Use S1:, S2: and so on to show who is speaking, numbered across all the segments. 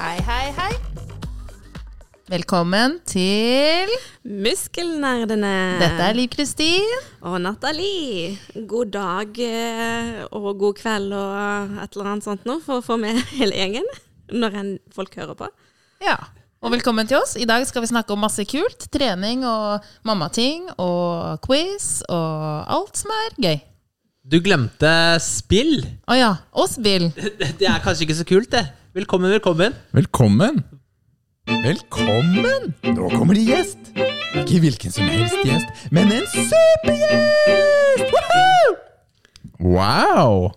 S1: hei, hei.
S2: Velkommen til
S1: Muskelnerdene.
S2: Dette er Liv Kristin.
S1: Og Nathalie. God dag eh, og god kveld og et eller annet sånt nå, for å få med hele gjengen. Når enn folk hører på.
S2: Ja. Og velkommen til oss. I dag skal vi snakke om masse kult. Trening og mammating og quiz og alt som er gøy.
S3: Du glemte spill.
S2: Å ja. Og spill.
S3: Det det er kanskje ikke så kult, det. Velkommen, velkommen.
S4: Velkommen! Velkommen! Nå kommer det gjest! Ikke hvilken som helst gjest, men en supergjest! Woohoo! Wow!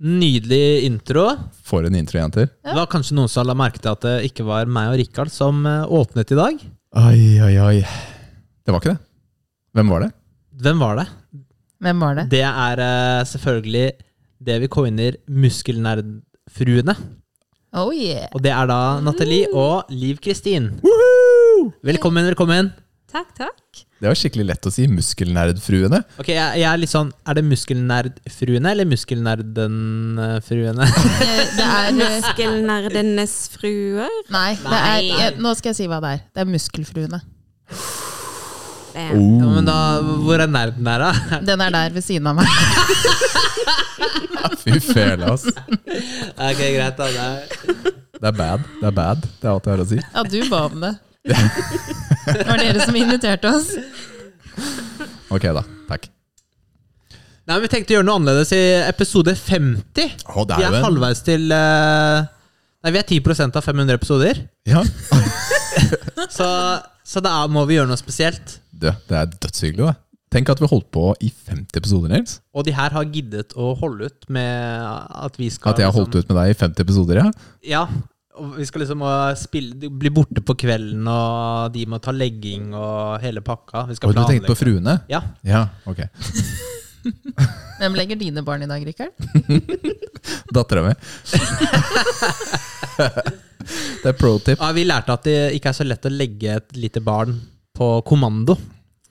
S3: Nydelig intro.
S4: For en intro, jenter.
S3: Det var kanskje noen som la merke til at det ikke var meg og Rikard som eh, åpnet i dag.
S4: Oi, oi, oi. Det var ikke det. Hvem var det?
S3: Hvem var det?
S2: Hvem var det?
S3: Det er eh, selvfølgelig det vi coiner muskelnerdfruene.
S2: Oh yeah.
S3: Og det er da Nathalie og Liv Kristin. Velkommen, velkommen.
S1: Takk, takk.
S4: Det var skikkelig lett å si muskelnerdfruene.
S3: Ok, jeg, jeg Er litt sånn Er det muskelnerdfruene eller muskelnerden-fruene?
S2: Eh, Det er
S1: Muskelnerdenes fruer.
S2: Nei, det er, jeg, nå skal jeg si hva det er. Det er Muskelfruene.
S1: Det er
S3: Ja,
S4: Oh.
S3: men da, Hvor er nerden her, da?
S2: Den er der ved siden av meg.
S4: Fy fele, ass.
S3: Ok, greit da det er-
S4: Det er bad. Det er bad. Det er alt jeg har å si.
S2: Ja, du ba om det. Det var dere som inviterte oss.
S4: Ok, da. Takk.
S3: Nei, men Vi tenkte å gjøre noe annerledes i episode 50.
S4: Å, det er
S3: vi er
S4: jo en-
S3: halvveis til eh, Nei, vi er 10 av 500 episoder.
S4: Ja.
S3: Så, så da må vi gjøre noe spesielt.
S4: Du, det er dødshyggelig, da. Tenk at vi holdt på i 50 episoder, Nils.
S3: Og de her har giddet å holde ut med at vi skal
S4: At jeg har holdt
S3: liksom,
S4: ut med deg i 50 episoder, ja.
S3: Ja. Og vi skal liksom eh, spille, bli borte på kvelden, og de må ta legging og hele pakka. Vi skal
S4: Og du tenkte på
S3: planlegge.
S4: fruene?
S3: Ja.
S4: Ja, ok.
S2: Hvem legger dine barn i dag, Rikard?
S4: Dattera mi. det er pro tip.
S3: Ja, vi lærte at det ikke er så lett å legge et lite barn på kommando.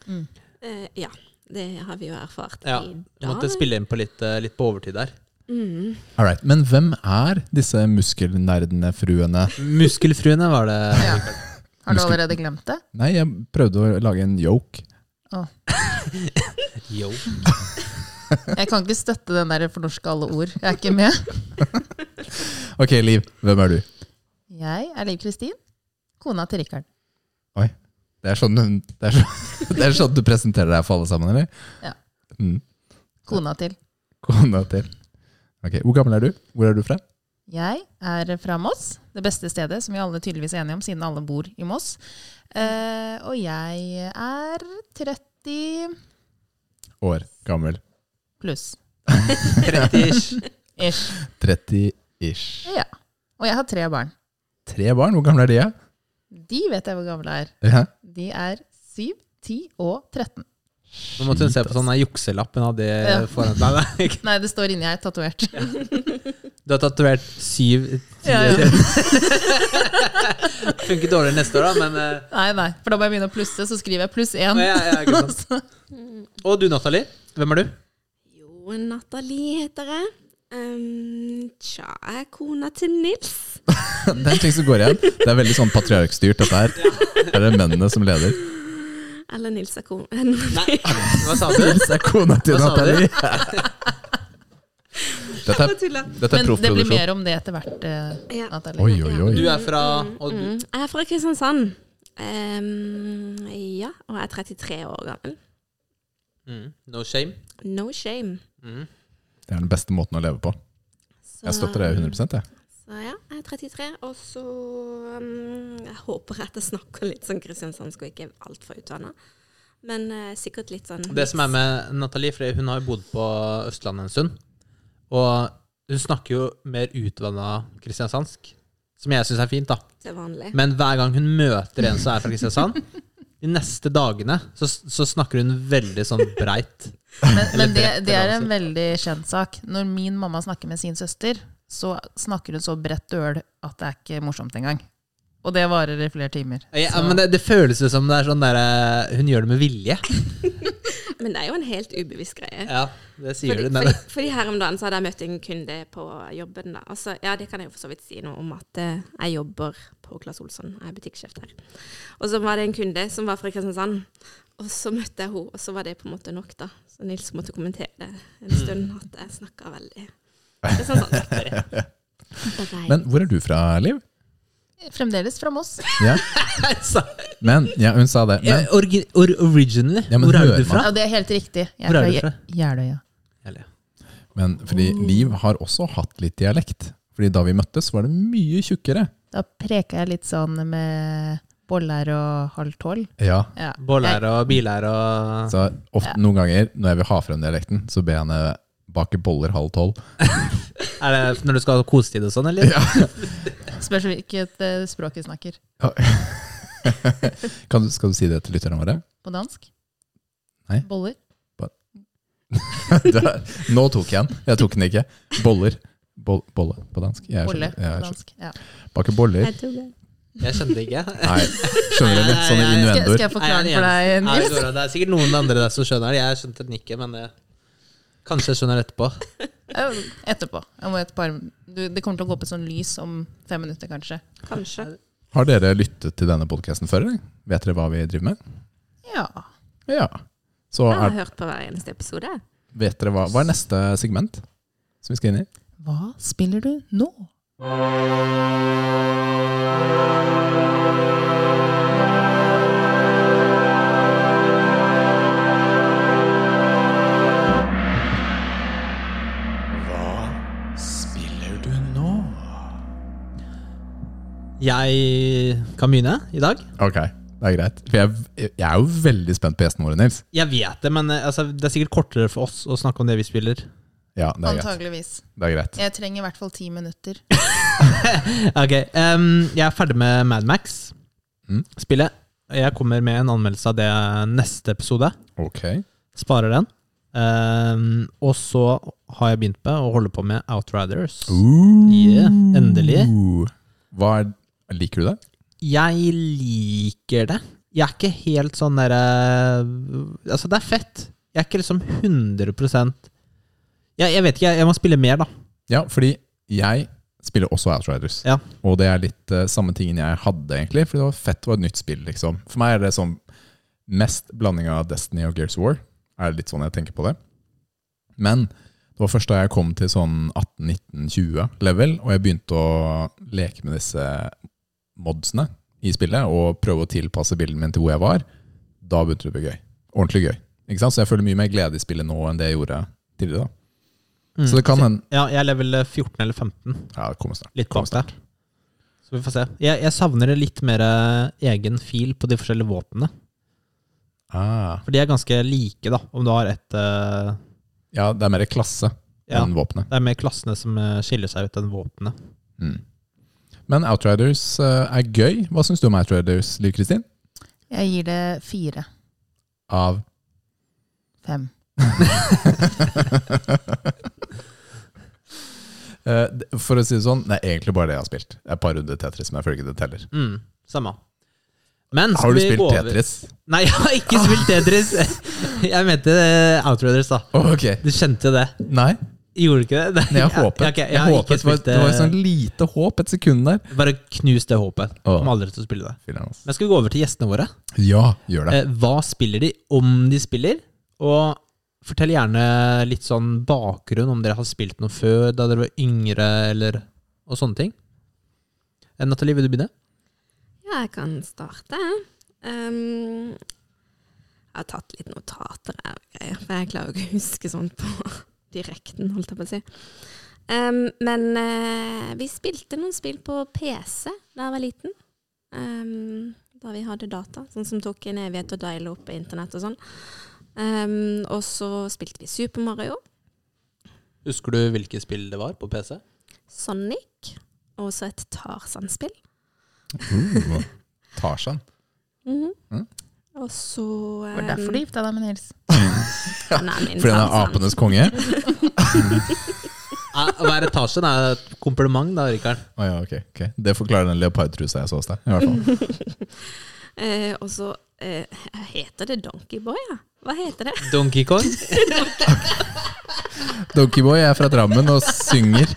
S2: Mm.
S1: eh, Ja. Det har vi jo erfart
S3: Ja,
S1: i
S3: vi måtte
S1: dag. Mm.
S3: spille inn på litt, eh, litt på overtid der.
S4: All right, Men hvem er disse muskelnerdene, fruene?
S3: Muskelfruene var det.
S2: Ja. Har du allerede glemt det?
S4: Nei, jeg prøvde å lage en yoke.
S3: Yo.
S2: Jeg kan ikke støtte den der fornorske alle ord. Jeg er ikke med.
S4: Ok, Liv, hvem er du?
S2: Jeg er Liv Kristin, kona til Rikard.
S4: Oi. Det er sånn, hun- det er sånn, det er sånn du presenterer deg for alle sammen, eller?
S2: Ja.
S4: Mm.
S2: Kona til.
S4: Kona til. Ok, Hvor gammel er du? Hvor er du fra?
S2: Jeg er fra Moss, det beste stedet, som vi alle tydeligvis er enige om, siden alle bor i Moss. Eh, og jeg er 30
S4: År gammel.
S2: pluss.
S3: 30-ish.
S2: Ish.
S4: 30-ish.
S2: Ja. Og jeg har tre barn.
S4: Tre barn? Hvor gamle er de? ja?
S2: De vet jeg hvor gamle er.
S4: Ja?
S2: De er 7, 10 og 13.
S3: Nå måtte hun se på sånn der jukselapp hun hadde
S2: Ja.
S3: foran Nei, nei, ikke.
S2: Nei, det står inni jeg, tatovert.
S3: Du har tatovert syv ti-
S2: Ja, ja.
S3: Funker dårligere neste år, da, men eh,
S2: Nei, nei, for da må jeg begynne å plusse, så skriver jeg pluss
S3: å,
S2: én.
S3: ja, ja, ikke sant. Og du, Nathalie. Hvem er du?
S1: Jo, Nathalie heter jeg. Um, tja, jeg er kona til Nils.
S4: Det er en ting som går igjen. Det er veldig sånn patriarkstyrt, dette her. Det er det mennene som leder.
S1: Eller Nils er kona.
S3: Nei, hva sa du?
S4: Nils er kona til
S3: Hva sa du?
S4: Nathalie. Dette er,
S1: tuller.
S4: dette
S2: Men
S4: er
S2: det blir
S4: proffproduksjon.
S2: mer om det etter hvert, eh,
S1: Ja.
S2: Natalie.
S4: Oi, oi, oi.
S3: Du er fra og du,
S1: Mm, Jeg er fra Kristiansand. Ehm, ja, og jeg er 33 år gammel.
S3: mm, No shame.
S1: No shame.
S4: Det er den beste måten å leve på.
S1: Så,
S4: Jeg støtter deg 100 jeg.
S1: Så ja, jeg er 33, og så mm, Jeg håper at jeg snakker litt sånn kristiansandsk og ikke er altfor utvanna. Men eh, sikkert litt sånn
S3: Det som er med Nathalie, for hun har jo bodd på Østlandet en stund, og hun snakker jo mer utvanna kristiansandsk, som jeg syns er fint, da.
S1: til vanlig.
S3: Men hver gang hun møter en som er fra Kristiansand, de neste dagene så, så snakker hun veldig sånn breit.
S2: Men, men det,
S3: bretter,
S2: det er en
S3: altså.
S2: veldig kjent sak. Når min mamma snakker med sin søster, så snakker hun så bredt øl at det er ikke morsomt engang. Og det varer i flere timer.
S3: Ja,
S2: Så-
S3: men det, det føles jo som det er sånn der, eh, hun gjør det med vilje.
S1: Men det er jo en helt ubevisst greie.
S3: Ja, det sier
S1: Fordi,
S3: du.
S1: fordi,
S3: Men,
S1: fordi her om dagen så hadde jeg møtt en kunde på jobben. da. Altså, ja, det kan jeg jo for så vidt si noe om at eh, jeg jobber på Claes Olsson, jeg er butikksjef der. Og så var det en kunde som var fra Kristiansand, og så møtte jeg henne, og så var det på en måte nok, da. Så Nils måtte kommentere det en stund, at jeg snakka veldig Kristiansand.
S4: Men hvor er du fra, Liv?
S2: Fremdeles fra Moss.
S4: Ja,
S3: Så,
S4: men, ja hun sa det. Men
S3: eh, orgi, or, originally,
S4: Ja, men
S3: hvor er
S4: hører
S3: du fra?
S2: Ja, det er helt riktig. Jeg
S3: Hvor
S2: fra
S3: er du fra?
S2: Gjer- Jeløya.
S3: Eller,
S4: Men fordi Liv har også hatt litt dialekt. Fordi da vi møttes, var det mye tjukkere.
S2: Da preka jeg litt sånn med boller og halv tolv.
S4: Ja.
S2: Ja.
S3: Boller og biler og
S4: Så ofte, noen ganger når jeg vil ha frem dialekten, så ber jeg henne bake boller halv tolv.
S3: Er det når du skal ha kosetid og sånn, eller?
S2: Jeg Spørs hvilket eh, språk vi snakker.
S4: Kan du, skal du si det til lytterne våre?
S2: På dansk?
S4: Nei.
S2: Boller?
S4: Da- Nå tok jeg den. Jeg tok den ikke. Boller. Bo, bolle på dansk. Jeg
S2: Bolle
S4: skjønner. Jeg
S2: på
S4: skjønner.
S2: dansk. Ja.
S4: Bake boller.
S3: Jeg skjønte det ikke.
S4: Nei, skjønner du? Sånne
S2: Skal, skal
S4: innuendoer.
S2: jeg forklare
S3: Nei,
S2: den for
S3: jeg er
S2: deg,
S3: den eneste. Nei, det,
S2: Nils?
S3: går bra. det er sikkert noen andre der som skjønner det. Jeg skjønte den ikke, men det, kanskje jeg skjønner det etterpå.
S2: Ja, Etterpå. Jeg må et par, du, det kommer til å gå på sånn lys om fem minutter, kanskje.
S1: Kanskje.
S4: Har dere lyttet til denne podkasten før? eller? Vet dere hva vi driver med?
S2: Ja.
S4: Ja. Så
S1: Jeg har
S4: er,
S1: hørt på hver eneste episode.
S4: vet dere hva, hva er neste segment som vi skal inn i?
S2: Hva spiller du nå?
S4: Hva spiller du nå?
S3: Jeg kan begynne i dag.
S4: Ok, det er greit. For jeg, jeg er jo veldig spent på gjestene våre, Nils.
S3: Jeg vet det, men eh, altså, det er sikkert kortere for oss å snakke om det vi spiller.
S4: Ja, det er greit.
S2: Antageligvis.
S4: Det er greit.
S2: Jeg trenger i hvert fall ti minutter.
S3: Ok, em, Jeg er ferdig med Mad Max-spillet.
S4: Mm.
S3: Jeg kommer med en anmeldelse av det neste episode.
S4: Ok.
S3: Sparer den. Em, og så har jeg begynt med å holde på med Outriders. Yeah, endelig.
S4: Hva er, liker du det?
S3: Jeg liker det. Jeg er ikke helt sånn derre Altså, det er fett. Jeg er ikke liksom 100 jeg, jeg vet ikke, jeg, jeg må spille mer, da.
S4: Ja, fordi jeg spiller også Outriders.
S3: Ja.
S4: Og det er litt eh, samme tingen jeg hadde, egentlig. For det var fett og et nytt spill, liksom. For meg er det sånn mest blanding av Destiny og Gears of War. Er litt sånn jeg tenker på det. Men det var først da jeg kom til sånn 18-19-20 level, og jeg begynte å leke med disse modsene i spillet, og prøve å tilpasse bilden min til hvor jeg var, da begynte det å bli gøy. Ordentlig gøy. Ikke sant? Så jeg føler mye mer glede i spillet nå enn det jeg gjorde tidligere. da.
S3: Mm.
S4: Så det kan hende
S3: Ja, jeg er level 14 eller 15.
S4: Ja, det kommer snart.
S3: Litt
S4: Kom
S3: bak der. Så vi får se. Jeg, jeg savner litt mer eh, egen fil på de forskjellige våpnene.
S4: Ah.
S3: For de er ganske like, da, om du har et eh,
S4: Ja, det er mer klasse
S3: Ja.
S4: enn våpenet.
S3: Det er mer klassene som eh, skiller seg ut enn våpnene.
S4: Mm. Men Outriders eh, er gøy. Hva syns du om Outriders, Liv Kristin?
S2: Jeg gir det fire.
S4: Av
S2: Fem.
S4: Eh, d- For å si det sånn, det er egentlig bare det jeg har spilt. Det er Et par runder Tetris, men jeg føler ikke det teller.
S3: Mm, samme. Men skal
S4: Har du
S3: Mm, vi
S4: spilt
S3: gå over-
S4: Tetris?
S3: Nei, jeg har ikke spilt Tetris. Jeg mente eh, Outriders, da.
S4: Å, ok.
S3: Du skjønte jo det.
S4: Nei,
S3: Gjorde du ikke det?
S4: men jeg håpet.
S3: Ja, ok, jeg
S4: jeg
S3: har
S4: håpet
S3: ikke
S4: det, var,
S3: spilt eh,
S4: det var et sånn lite håp et sekund der.
S3: Bare knus det håpet.
S4: Åh.
S3: Kommer aldri til å spille det.
S4: Filler'n, altså.
S3: Men skal vi gå over til gjestene våre?
S4: Ja, gjør det.
S3: Eh, hva spiller de, om de spiller? Og fortell gjerne litt sånn bakgrunn, om dere har spilt noe før, da dere var yngre, eller og sånne ting. Eh, Nathalie, vil du begynne?
S1: Ja, jeg kan starte. Um, jeg har tatt litt notater her, og greier, for jeg klarer jo ikke å huske sånt på direkten, holdt jeg på å si. Um, men eh, vi spilte noen spill på PC da jeg var liten. Um, da vi hadde data, sånn som tok en evighet å diale opp på internett og sånn. Um, og så spilte vi Super Mario,
S3: Husker du hvilket spill det var på PC?
S1: Sonic og så et Tarzan-spill.
S4: Uh, Tarzan.
S1: Mhm.
S4: Mm.
S1: Og så
S2: Det var derfor
S1: um,
S2: du gifta deg med Nils.
S1: han er min
S4: Fordi han er
S1: Tarzan.
S4: apenes konge?
S3: Hver etasje det Ah, er et kompliment, da, Rikard.
S4: Å ja, ok, ok. Det forklarer den leopardtrusa jeg så hos deg. I hvert fall.
S1: Eh, og så eh, heter det Donkey Boy, ja. Hva heter det?
S3: Donkey Kong.
S4: Donkeyboy er fra Drammen og synger.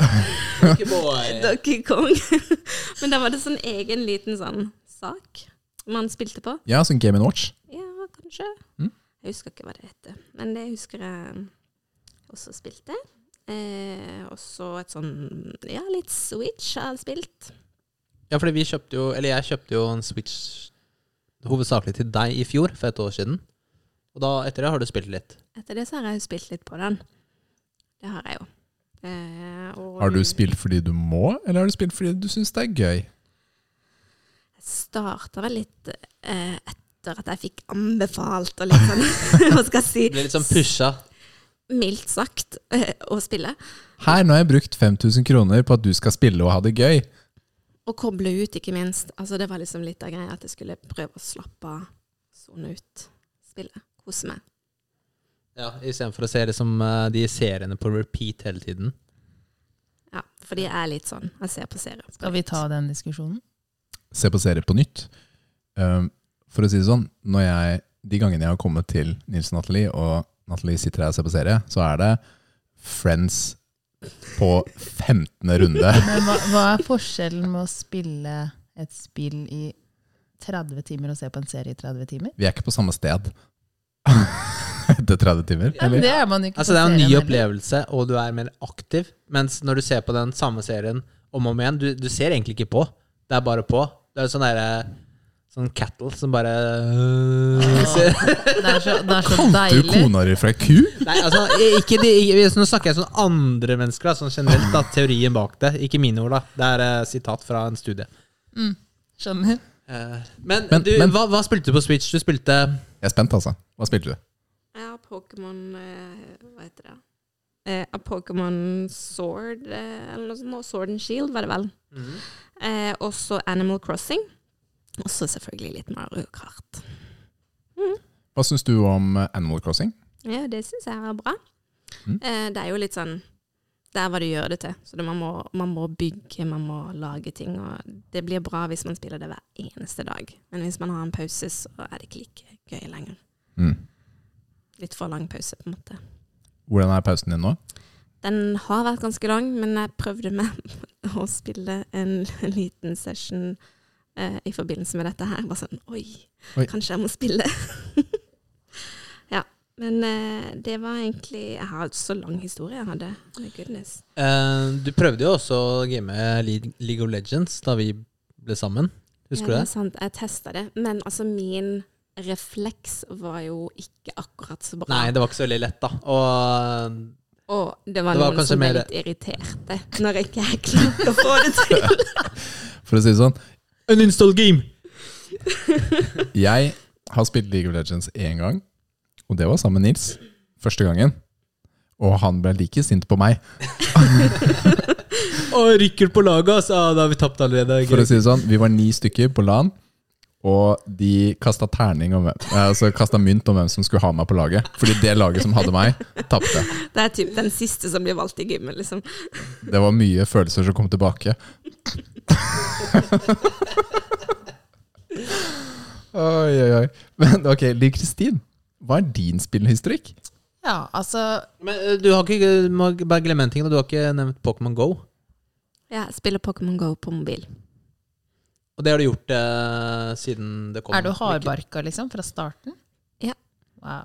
S4: Eh.
S1: Donkey Kong. Men da var det sånn egen liten sånn sak man spilte på.
S4: Ja, sånn Game Watch.
S1: Ja, kanskje.
S4: Mm.
S1: Jeg husker ikke hva det heter. Men det husker jeg også spilte. Eh, og så et sånn Ja, litt Switch har jeg spilt.
S3: Ja, fordi vi kjøpte jo Eller jeg kjøpte jo en Switch hovedsakelig til deg i fjor, for et år siden. Og da, etter det har du spilt litt.
S1: Etter det så har jeg jo spilt litt på den. Det har jeg jo. Eh, og
S4: Har du spilt fordi du må, eller har du spilt fordi du syns det er gøy?
S1: Jeg starta vel litt eh, etter at jeg fikk anbefalt og litt sånn Hva skal jeg si?
S3: Du ble litt sånn pusha.
S1: Mildt sagt eh, å spille.
S4: Her, nå har jeg brukt 5000 kroner på at du skal spille og ha det gøy.
S1: Og koble ut, ikke minst. Altså, det var liksom litt av greia at jeg skulle prøve å slappe av, sone ut spillet, kose meg.
S3: Ja, Istedenfor å se liksom, eh, de seriene på repeat hele tiden.
S1: Ja, fordi jeg er litt sånn. Jeg ser på serier.
S2: Skal vi ta den diskusjonen?
S4: se på serier på nytt. Um, for å si det sånn, når jeg, de gangene jeg har kommet til Nils og Nathalie, og Nathalie sitter her og ser på serie, så er det Friends på 15. runde.
S2: Men hva, hva er forskjellen med å spille et spill i 30 timer og se på en serie i 30 timer?
S4: Vi er ikke på samme sted etter 30 timer.
S2: Ja, men det er man jo ikke
S3: Altså Det er
S2: på
S3: jo en ny
S2: serien heller.
S3: opplevelse, og du er mer aktiv. Mens når du ser på den samme serien om og om igjen, du, du ser egentlig ikke på. Det er bare på. Det er sånn derre Sånn cattle som bare øh, ser-
S2: Det er så, det er så
S4: Kalte du
S2: deilig.
S4: kona di for ei ku?
S3: Nei, altså, ikke de, ikke, nå snakker jeg sånn andre mennesker, da, sånn generelt. da, Teorien bak det. Ikke mine ord, da. Det er eh, sitat fra en studie.
S2: Skjønner.
S3: Eh, men
S4: Men-
S3: du,
S4: men-
S3: Hva, hva spilte du på Switch? Du spilte
S4: Jeg er spent, altså. Hva spilte du?
S1: Jeg har Pokémon eh, Hva heter det? Eh, av Pokémon Sword eh, eller noe sånt. nå, Sword and Shield, var det vel. Eh, og så Animal Crossing. Og så selvfølgelig litt Mario Kart.
S4: Hva syns du om eh, Animal Crossing?
S1: Ja, det syns jeg er bra.
S4: Mm.
S1: Eh, det er jo litt sånn Det er hva du gjør det til. Så det, man, må, man må bygge, man må lage ting. Og det blir bra hvis man spiller det hver eneste dag. Men hvis man har en pause, så er det ikke like gøy lenger.
S4: Mm.
S1: Litt for lang pause, på en måte.
S4: Hvordan er pausen din nå?
S1: Den har vært ganske lang, men jeg prøvde med å spille en liten session eh, i forbindelse med dette her. Bare sånn Oi,
S4: Oi.
S1: kanskje jeg må spille. ja. Men eh, det var egentlig Jeg har så lang historie jeg hadde. My goodness.
S3: eh, Du prøvde jo også å game Le- League of Legends da vi ble sammen. Husker du
S1: ja,
S3: det?
S1: er Sant. Jeg testa det. Men altså, min refleks var jo ikke akkurat så bra.
S3: Nei, det var ikke så veldig lett, da. Og eh,
S1: Og det var,
S3: Det var
S1: noen
S3: kanskje
S1: som ble
S3: mer-
S1: litt irriterte når ikke jeg klarte å få det til.
S4: For å si det sånn,
S3: An install game!
S4: Jeg har spilt League of Legends én gang, og det var sammen med Nils. Første gangen. Og han ble like sint på meg.
S3: Og rykker på laget, altså! Ah, Da har vi tapt allerede.
S4: For å si det sånn, Vi var ni stykker på LAN, og de kasta terning om hvem, eh, altså kastet mynt om hvem som skulle ha meg på laget. Fordi det laget som hadde meg, tapte.
S1: Det er typ den siste som blir valgt i gymmen, liksom.
S4: Det var mye følelser som kom tilbake. oi, oi, oi. Men ok, Liv Kristin, hva er din spillhistorikk?
S2: Ja, altså
S3: Men eh, du har ikke du må bare glemme en ting, da. Du har ikke nevnt Pokémon Go.
S1: Ja, jeg spiller Pokémon Go på mobil.
S3: Og det har du gjort eh, siden det kom.
S2: Er du hardbarka, liksom, fra starten?
S1: Ja.
S2: Wow. er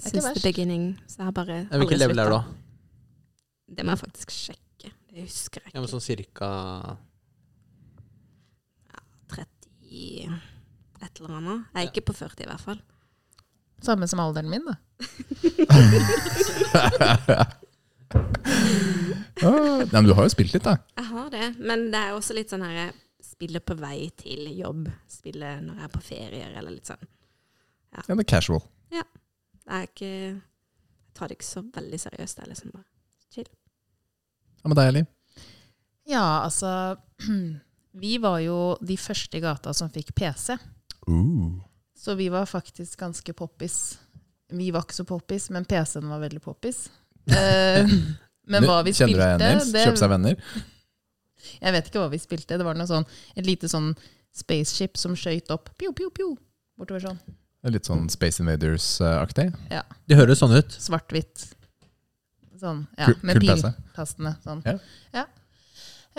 S2: ikke
S1: Since the
S2: verst.
S1: beginning. Så jeg har bare
S3: Hvilken hvilke level er du da?
S1: da? Det må jeg faktisk sjekke. Det husker jeg
S3: Ja, men
S1: ikke.
S3: sånn cirka
S1: 30 et eller annet. Jeg er ikke på 40 i hvert fall.
S2: Samme som alderen min, da.
S4: Ah, nei, men du har jo spilt litt, da.
S1: Jeg har det, men det er også litt sånn her Spille på vei til jobb. Spille når jeg er på ferier, eller litt sånn.
S4: Ja, det er casual.
S1: Det er ikke Jeg tar det ikke så veldig seriøst. Det er liksom bare
S4: Hva med deg, Liv?
S2: Ja, altså Vi var jo de første i gata som fikk PC. Så vi var faktisk ganske poppis. Vi var ikke så poppis, men PC-en var veldig poppis. Eh, men
S4: Nå
S2: hva vi
S4: Kjenner du
S2: spilte
S4: deg igjen, Nils? Kjøpe seg
S2: det,
S4: venner?
S2: Jeg vet ikke hva vi spilte. Det var noe sånn, et lite sånn spaceship som skøyt opp pjo, pjo, pjo, bortover sånn.
S4: Det er Litt sånn Space Invaders-aktig?
S3: Det høres sånn ut.
S2: Svart-hvitt. Sånn, ja,
S4: Kul-
S2: med
S4: kul PC.
S2: piltastene. Sånn.
S4: Ja.
S2: Ja.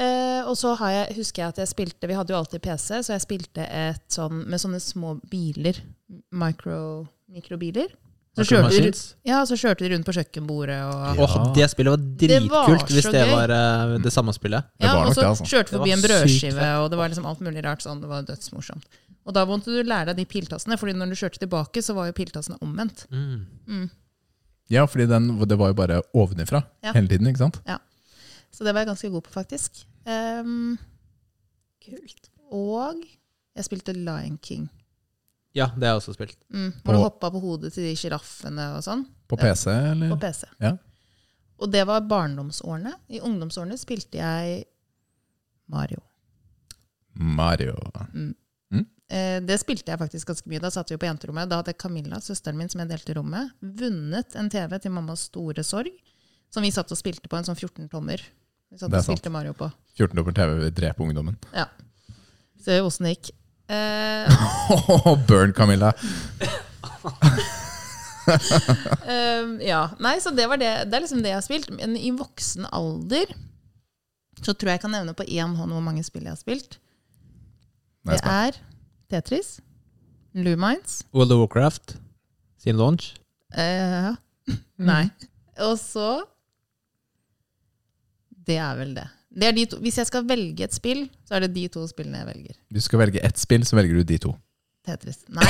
S2: Eh, og så har jeg, husker jeg at jeg spilte Vi hadde jo alltid PC, så jeg spilte et sånn med sånne små biler. Micro, mikrobiler. Så kjørte, du,
S3: Micromachines.
S2: ja, så kjørte de rundt på kjøkkenbordet og
S4: Ja.
S3: Åh, det spillet var
S2: Det var
S3: dritkult, hvis
S2: så
S3: det
S2: gøy.
S3: var eh, det samme spillet.
S4: Det
S2: Ja,
S4: var
S2: og
S4: nok
S2: så
S4: det, altså.
S2: kjørte
S3: Det
S2: forbi
S3: var
S2: en
S3: sykt
S2: brødskive,
S3: fett.
S2: og det var liksom alt mulig rart sånn. Det var dødsmorsomt. Og da måtte du lære deg de piltassene, Fordi når du kjørte tilbake, så var jo piltassene omvendt.
S3: Mm.
S4: Ja, fordi den, det var jo bare ovenifra
S2: Ja.
S4: hele tiden, ikke sant?
S2: Så det var jeg ganske god på, faktisk. Ehm,
S1: Kult.
S2: og jeg spilte Lion King.
S3: Ja, det har jeg også spilt.
S2: Mm,
S4: På-
S2: hvor du hoppa på hodet til de sjiraffene og sånn.
S4: På PC, eller?
S2: På PC.
S4: Ja.
S2: Og det var barndomsårene. I ungdomsårene spilte jeg Mario.
S4: Mario.
S2: Eh, det spilte jeg faktisk ganske mye. Da satt vi jo på jenterommet. Da hadde Camilla, søsteren min som jeg delte rommet, vunnet en TV til mammas store sorg. Som vi satt og spilte på, en sånn 14-tommer. Vi satt
S4: Det er
S2: og
S4: sant.
S2: spilte Mario på.
S4: 14 dommer TV vil drepe ungdommen.
S2: Så åssen det gikk. Eh,
S4: Burn, Camilla!
S2: eh, ja. Nei, så det var det. Det er liksom det jeg har spilt. Men i voksen alder så tror jeg jeg kan nevne på én hånd hvor mange spill jeg har spilt.
S4: Nei,
S2: Det er Tetris, Lumines
S3: World of Warcraft sin launch.
S2: eh, Nei. Og så Det er vel det. det er de to. Hvis jeg skal velge et spill, så er det de to spillene jeg velger.
S4: Du skal velge ett spill, så velger du de to.
S2: Tetris. Nei,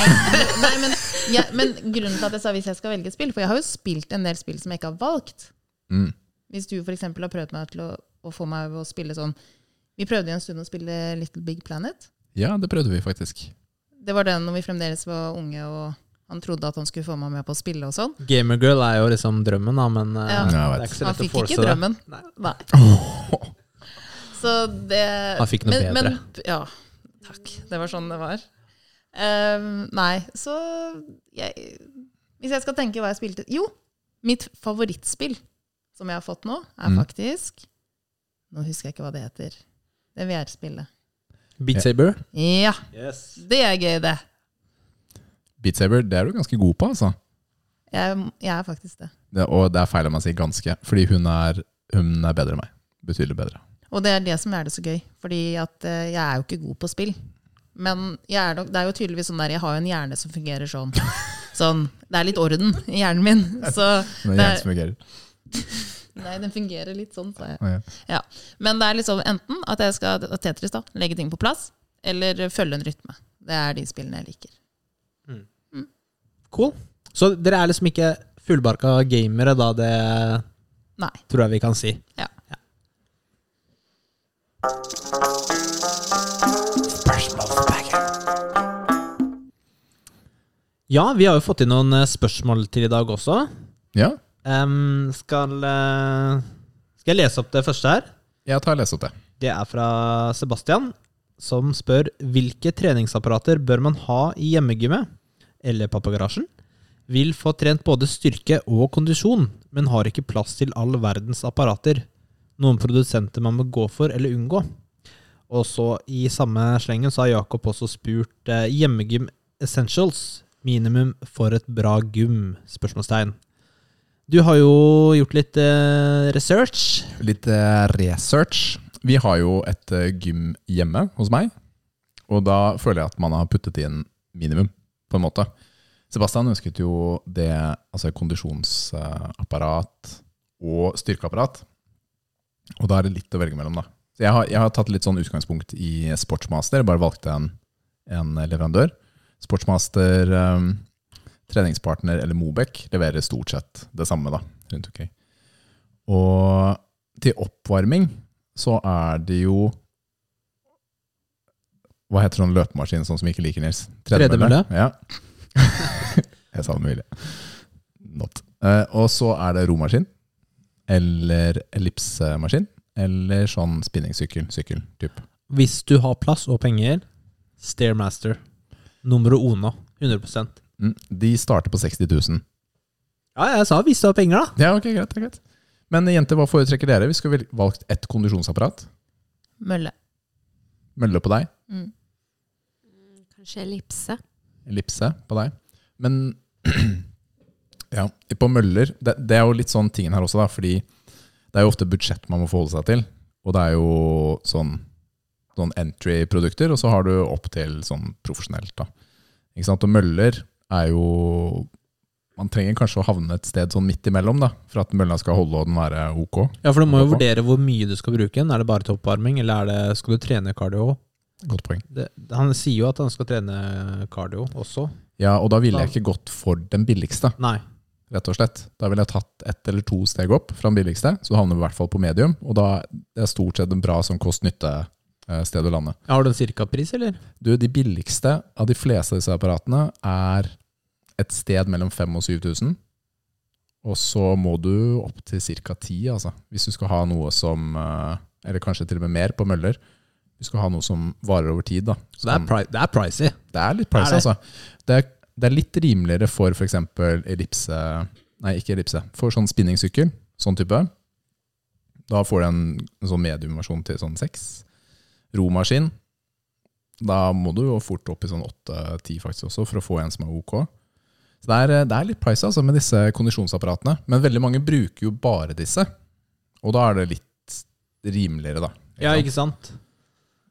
S2: nei men, jeg- men grunnen til at jeg sa hvis jeg skal velge et spill For jeg har jo spilt en del spill som jeg ikke har valgt.
S4: Mm.
S2: Hvis du for eksempel har prøvd meg til å, å få meg å spille sånn Vi prøvde jo en stund å spille Little Big Planet.
S4: Ja, det prøvde vi faktisk.
S2: Det var den når vi fremdeles var unge, og han trodde at han skulle få meg med på å spille og sånn.
S3: Gamergirl er jo liksom drømmen, da, men eh,
S2: Ja.
S4: Ja, jeg
S3: det er
S4: vet.
S3: ikke så
S2: Han
S3: lett å
S2: fikk ikke
S3: force det.
S2: drømmen.
S3: Nei.
S2: Nei. Så det
S3: Han fikk
S2: men-
S3: noe bedre.
S2: Men, ja, takk. Det var sånn det var. Ehm, nei, så jeg, Hvis jeg skal tenke hva jeg spilte Jo, mitt favorittspill som jeg har fått nå, er
S4: Mm.
S2: faktisk Nå husker jeg ikke hva det heter. Det VR-spillet.
S3: Beat Saber.
S2: Ja,
S3: Yes.
S2: det er gøy, det.
S4: Beat Saber, det er du ganske god på, altså.
S2: Jeg, jeg er faktisk det.
S4: Det, og det er feil om jeg sier ganske, fordi hun er, hun er bedre enn meg. Betydelig bedre.
S2: Og det er det som er det så gøy, fordi at eh, jeg er jo ikke god på spill. Men jeg er nok, det er jo tydeligvis sånn der, jeg har jo en hjerne som fungerer sånn. sånn det er litt orden i hjernen min. Så Det
S4: Men det
S2: er-
S4: er som fungerer.
S2: nei, den fungerer litt sånn, sa jeg.
S4: Ja, ja.
S2: Men det er liksom enten at jeg skal at Tetris da, legge ting på plass, eller følge en rytme. Det er de spillene jeg liker.
S3: Cool. Så dere er liksom ikke fullbarka gamere, da. Det
S2: Nei.
S3: tror jeg vi kan si.
S2: Ja.
S3: Ja, vi har jo fått inn noen eh, spørsmål til i dag også.
S4: ja,
S3: Em, skal, eh, skal jeg lese opp det første her?
S4: jeg tar og leser opp det.
S3: Det er fra Sebastian, som spør hvilke treningsapparater bør man ha i hjemmegymmet eller pappagarasjen? Vil få trent både styrke og kondisjon, men har ikke plass til all verdens apparater. Noen produsenter man må gå for eller unngå. Og så i samme slengen så har Jakob også spurt eh, hjemmegym essentials. Minimum for et bra gym? Spørsmålstegn. Du har jo gjort litt eh, research.
S4: Litt eh, research. Vi har jo et eh, gym hjemme hos meg, og da føler jeg at man har puttet inn minimum, på en måte. Sebastian ønsket jo det, altså kondisjonsapparat og styrkeapparat, og da er det litt å velge mellom, da. Så jeg har, jeg har tatt litt sånn utgangspunkt i Sportsmaster, bare valgte en, en eh, leverandør. Sportsmaster, eh, treningspartner eller Mobek leverer stort sett det samme, da, rundt omkring. Og til oppvarming så er det jo Hva heter sånn løpemaskin sånn som vi ikke liker, Nils?
S3: Tredemølle?
S4: Ja. Jeg sa det med vilje. Not. Eh, og så er det romaskin. Eller ellipsemaskin. Eller sånn spinningsykkel. Sykkel, typ.
S3: Hvis du har plass og penger, Stairmaster. Nummer ona. 100
S4: Mm. De starter på 60 000.
S3: Ja, jeg sa hvis du har penger, da.
S4: Ja, ok, greit, det er greit. Men jenter, hva foretrekker dere? Vi skulle vel valgt ett kondisjonsapparat.
S2: Mølle.
S4: Mølle på deg.
S2: Mm.
S1: Kanskje ellipse.
S4: ellipse på deg. Men Ja, på møller, det, det er jo litt sånn tingen her også, da, fordi det er jo ofte budsjett man må forholde seg til. Og det er jo sånn noen entry-produkter, og så har du opp til sånn profesjonelt. da. Ikke sant? Og møller er jo Man trenger kanskje å havne et sted sånn midt imellom, da, for at mølla skal holde og den være ok.
S3: Ja, for du må jo
S4: Hvorfor?
S3: vurdere hvor mye du skal bruke den. Er det bare til oppvarming, eller er det, skal du trene cardio òg?
S4: Godt poeng.
S3: Han sier jo at han skal trene cardio også.
S4: Ja, og da ville jeg ikke gått for den billigste,
S3: Nei.
S4: rett og slett. Da ville jeg tatt ett eller to steg opp fra den billigste, så du havner i hvert fall på medium. Og da er stort sett en bra sånn kost-nytte-sted å lande.
S3: Har du en cirkapris, eller?
S4: Du, de billigste av de fleste av disse apparatene er et sted mellom 5000 og 7000. Og så må du opp til ca. 10, altså. Hvis du skal ha noe som eh, Eller kanskje til og med mer på møller. Du skal ha noe som varer over tid. da.
S3: Så det er,
S4: Som-
S3: pri det er pricey.
S4: det er litt price,
S3: Er det?
S4: altså. Det er, det er litt rimeligere for f.eks. ellipse Nei, ikke ellipse. For sånn spinningsykkel, sånn type. Da får du en sånn mediumversjon til sånn seks. Romaskin. Da må du jo fort opp i sånn åtte-ti faktisk også, for å få en som er ok. Så det er, det er litt price altså, med disse kondisjonsapparatene. Men veldig mange bruker jo bare disse. Og da er det litt rimeligere, da.
S3: Ja, ikke sant?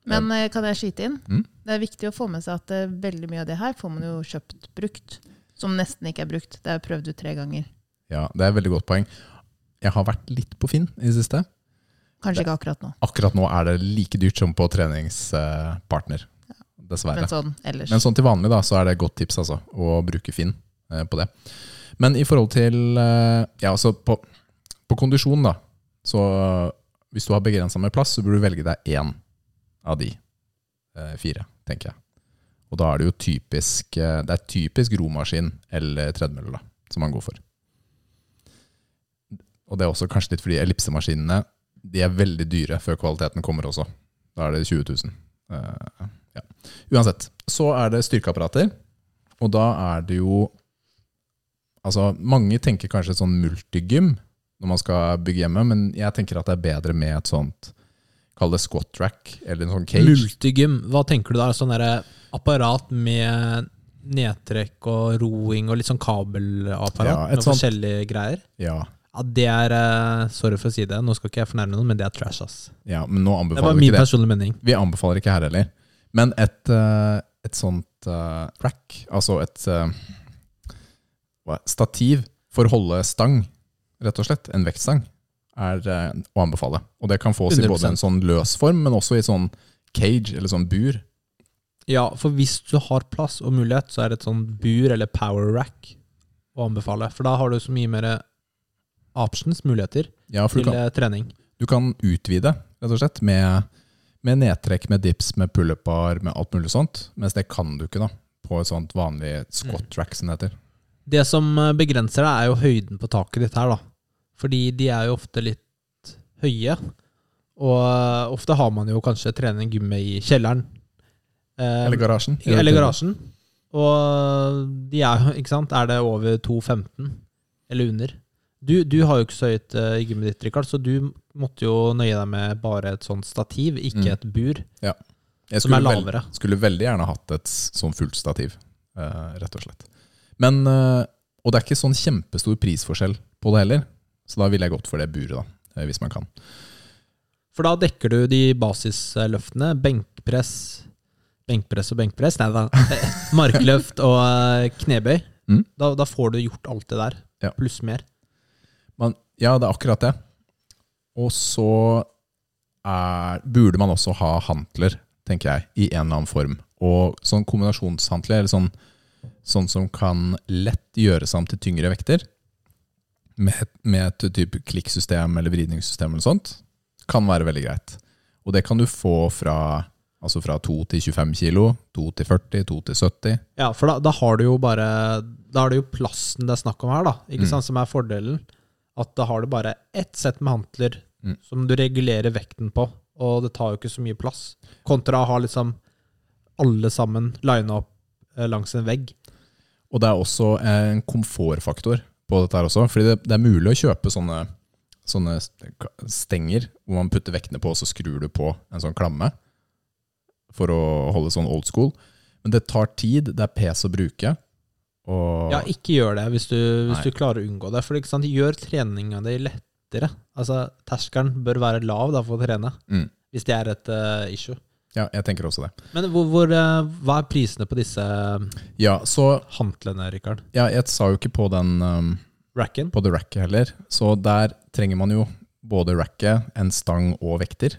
S2: Men eh, kan jeg skyte inn?
S4: Mm.
S2: Det er viktig å få med seg at eh, veldig mye av det her får man jo kjøpt brukt. Som nesten ikke er brukt. Det er prøvd ut tre ganger.
S4: Ja, det er et veldig godt poeng. Jeg har vært litt på Finn i det siste.
S2: Kanskje ikke akkurat nå,
S4: akkurat nå er det like dyrt som på treningspartner. Dessverre.
S2: men sånn ellers.
S4: Men sånn til vanlig da, så er det et godt tips altså, å bruke Finn eh, på det. Men i forhold til eh, ja, altså på, på kondisjon, da, så hvis du har begrensa med plass, så burde du velge deg én av de eh, fire, tenker jeg. Og da er det jo typisk eh, Det er typisk romaskin eller tredemølle da, som man går for. Og det er også kanskje litt fordi ellipsemaskinene de er veldig dyre før kvaliteten kommer også. Da er det 20 000. Eh, ja. Uansett, så er det styrkeapparater. Og da er det jo Altså, mange tenker kanskje sånn multigym når man skal bygge hjemme, men jeg tenker at det er bedre med et sånt Kall det squat rack eller en sånn cage.
S3: Multigym. Hva tenker du da? Sånn derre apparat med nedtrekk og roing og litt sånn kabelapparat
S4: Ja, et
S3: med
S4: sånt-
S3: forskjellige greier?
S4: Ja,
S3: Ja, det er eh, Sorry for å si det, nå skal ikke jeg fornærme noen, men det er trash, ass.
S4: ja, men nå
S3: Det
S4: anbefaler
S3: var
S4: vi
S3: min
S4: ikke det.
S3: personlige mening.
S4: Vi anbefaler ikke her heller. Men et, eh, et sånt eh, rack, altså et eh, hva, stativ for å holde stang, rett og slett, en vektstang, er eh, å anbefale. Og det kan fås i både en
S3: 100%.
S4: sånn løs form, men også i sånn cage, eller sånn bur.
S3: Ja, for hvis du har plass og mulighet, så er det et sånn bur eller power rack å anbefale. For da har du så mye mer eh, options, muligheter,
S4: Ja, for
S3: til
S4: du kan,
S3: eh, trening.
S4: du kan utvide, rett og slett, med, med nedtrekk, med dips, med pull-up-bar, med alt mulig sånt. Mens det kan du ikke da, på et sånt vanlig
S3: Mm.
S4: squat rack, som det heter.
S3: Det som eh, begrenser deg, er jo høyden på taket ditt her, da. Fordi de er jo ofte litt høye. Og eh, ofte har man jo kanskje trening gymme i kjelleren. Eh,
S4: Eller garasjen.
S3: Eller garasjen. Og de er jo, ikke sant, er det over 2,15 eller under? Du, du har jo ikke så høyt eh, i gymmet ditt, Rikard, så du måtte jo nøye deg med bare et sånt stativ, ikke
S4: Mm.
S3: et bur,
S4: Jeg
S3: som er
S4: skulle vel-
S3: lavere.
S4: Skulle veldig gjerne hatt et s- sånn fullt stativ, eh, rett og slett. Men, eh, og det er ikke sånn kjempestor prisforskjell på det heller, så da ville jeg gått for det buret, da, eh, hvis man kan.
S3: For da dekker du de basisløftene. Benkpress, benkpress og benkpress. Nei da. eh, Markløft og eh, knebøy.
S4: Mm.
S3: Da, da får du gjort alt det der,
S4: Ja.
S3: pluss mer.
S4: Men ja, det er akkurat det. Og så er, burde man også ha hantler, tenker jeg, i en eller annen form. Og sånn kombinasjonshantler, eller sånn, sånn som kan lett gjøres om til tyngre vekter, med, med et type klikksystem eller vridningssystem eller sånt, kan være veldig greit. Og det kan du få fra, altså fra 2 til 25 kilo, 2 til 40, 2 til 70.
S3: Ja, for da, da har du jo bare Da er det jo plassen det er snakk om her, da. Ikke
S4: Mm.
S3: sant, som er fordelen. At da har du bare ett sett med hantler
S4: Mm.
S3: som du regulerer vekten på, og det tar jo ikke så mye plass. Kontra å ha liksom alle sammen lina opp eh, langs en vegg.
S4: Og det er også en komfortfaktor på dette her også. Fordi det, det er mulig å kjøpe sånne, sånne stenger hvor man putter vektene på, og så skrur du på en sånn klamme for å holde sånn old school. Men det tar tid, det er pes å bruke, Og,
S3: Ja, ikke gjør det hvis du, hvis
S4: Nei.
S3: du klarer å unngå det. For ikke sant? gjør treninga di lettere. Altså, Terskelen bør være lav da, for å trene,
S4: Mm.
S3: hvis det er et eh, issue.
S4: ja, jeg tenker også det.
S3: Men hvor, hvor, eh, hva er prisene på disse eh,
S4: Ja, så
S3: hantlene, Rikard?
S4: ja, jeg sa jo ikke på den um,
S3: Racken?
S4: på the racket heller. Så der trenger man jo både racket, en stang og vekter.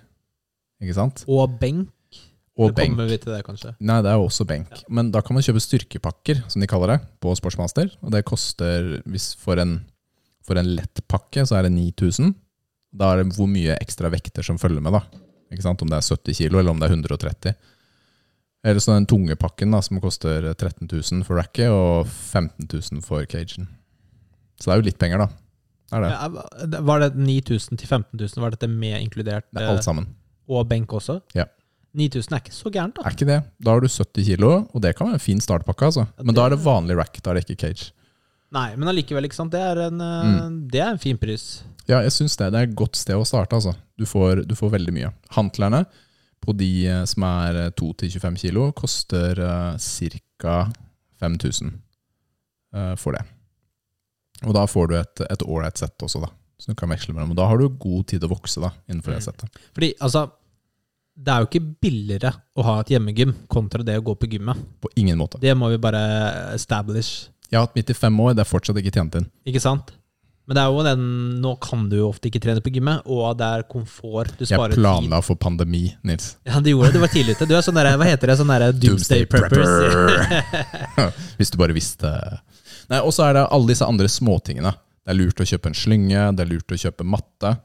S4: Ikke sant?
S3: Og benk?
S4: Og
S3: Det
S4: benk.
S3: Kommer vi til det, kanskje?
S4: Nei, det er jo også benk. Men da kan man kjøpe styrkepakker, som de kaller det, på Sportsmaster. Og det koster, hvis for en, for en lett pakke, så er det 9000. Da er det hvor mye ekstra vekter som følger med, da. Ikke sant? Om det er 70 kilo, eller om det er 130. Eller så den tunge pakken, da, som koster 13 000 for racket, og 15 000 for cagen. Så det er jo litt penger, da. Det er det.
S3: Ja, Var det 9000 til 15 000? Var dette med inkludert?
S4: Det er alt sammen.
S3: eh, Og benk også?
S4: Ja.
S3: 9000 er ikke så gærent, da.
S4: Er ikke det. Da har du 70 kilo, og det kan være en fin startpakke. altså. Men da er det vanlig rack, da er det ikke cage.
S3: Nei, men allikevel, ikke sant. Det er en, eh,
S4: Mm.
S3: det er en fin pris.
S4: Ja, jeg syns det. Det er et godt sted å starte. altså. Du får, du får veldig mye. Hantlerne på de eh, som er eh, 2-25 kilo, koster eh, ca. 5000 eh, for det. Og da får du et et ålreit sett også, da. Så du kan veksle mellom. Og da har du god tid å vokse da, innenfor det
S3: Mm.
S4: settet.
S3: Fordi, altså Det er jo ikke billigere å ha et hjemmegym kontra det å gå på gymmet.
S4: På ingen måte.
S3: Det må vi bare establish,
S4: Jeg har hatt mitt i fem år, det er fortsatt ikke tjent inn.
S3: ikke sant? Men det er jo den Nå kan du jo ofte ikke trene på gymmet, og det er komfort. Du
S4: Jeg
S3: sparer tid.
S4: planla for pandemi, Nils.
S3: Ja, du gjorde det. Du var tidlig ute. Du er sånn der, hva heter det? Sånn derre doomsday preppers.
S4: prepper. Hvis du bare visste. Nei, Og så er det alle disse andre småtingene. Det er lurt å kjøpe en slynge, det er lurt å kjøpe matte,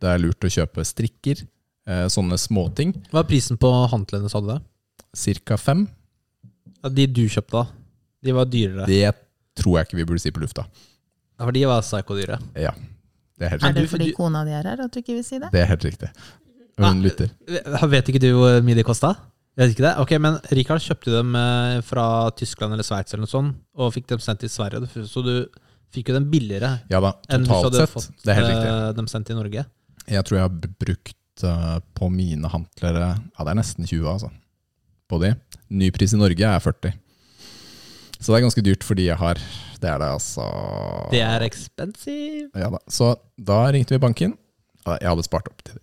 S4: det er lurt å kjøpe strikker. Eh, sånne småting.
S3: Hva er prisen på håndklærne, sa du det?
S4: Cirka fem.
S3: Ja, de du kjøpte, da? De var dyrere.
S4: Det tror jeg ikke vi burde si på lufta.
S3: Ja, for de var psykodyre.
S4: Ja, det er helt,
S2: Er
S3: Men
S2: det
S3: du-
S2: fordi
S3: du-
S2: kona di er her at du ikke vil si det?
S4: det er helt riktig. Hun
S3: Nei.
S4: lytter.
S3: Vet ikke du hvor mye de kosta? Vet ikke det? Ok, men Rikard kjøpte dem eh, fra Tyskland eller Sveits eller noe sånt, og fikk dem sendt til Sverige. Så du fikk jo dem billigere
S4: Ja da,
S3: enn hvis du
S4: totalt
S3: hadde
S4: sett.
S3: fått
S4: Det er helt riktig.
S3: eh, dem sendt til Norge.
S4: Jeg tror jeg har b- brukt eh, på mine hantlere Ja, det er nesten 20, altså. På de. Ny pris i Norge er 40. Så det er ganske dyrt for de jeg har. Det er det, altså.
S3: Det er expensive.
S4: Ja da. Så da ringte vi banken. Ja, Jeg hadde spart opp til det.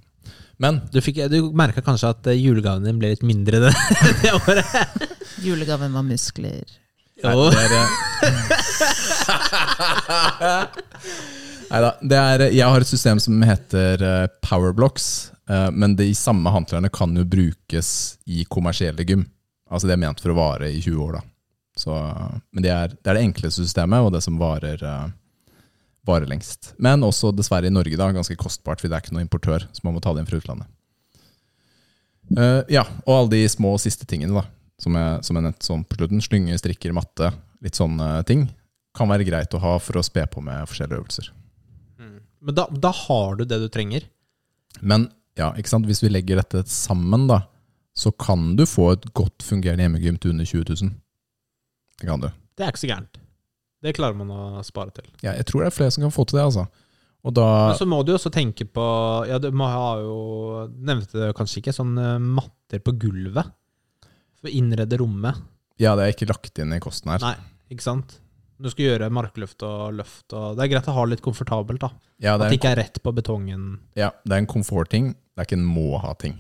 S4: Men
S3: Du, fikk- du merka kanskje at eh, julegaven din ble litt mindre det, det året?
S2: Julegaven var muskler.
S4: Nei,
S3: Jo.
S4: det er eh, Neida, Det er eh, Jeg har et system som heter eh, Powerblocks, eh, men de samme håndklærne kan jo brukes i kommersielle gym. Altså det er ment for å vare i 20 år, da. Så, men det er, det er det enkleste systemet, og det som varer, eh, varer lengst. Men også dessverre i Norge, da. Ganske kostbart, for det er ikke noen importør, så man må ta det inn fra utlandet. Eh, ja, og alle de små siste tingene, da som jeg, som jeg nevnte sånn på slutten, slynge, strikker, matte, litt sånne ting, kan være greit å ha for å spe på med forskjellige øvelser.
S3: Men da, da har du det du trenger.
S4: Men ja, ikke sant? hvis vi legger dette sammen, da, så kan du få et godt fungerende hjemmegym til under 20 000. Det kan du.
S3: Det er ikke så gærent. Det klarer man å spare til.
S4: Ja, jeg tror det er flere som kan få til det, altså. Og da
S3: Men så må du jo også tenke på Ja, du må ha jo Nevnte det kanskje ikke, sånn eh, matter på gulvet. For å innrede rommet,
S4: Ja, det er ikke lagt inn i kosten her.
S3: Nei. ikke sant? Du skal gjøre markløft og løft og Det er greit å ha litt komfortabelt, da.
S4: Ja,
S3: At
S4: det
S3: det
S4: er,
S3: ikke er rett på betongen.
S4: ja, det er en komfortting, det er ikke en må-ha-ting.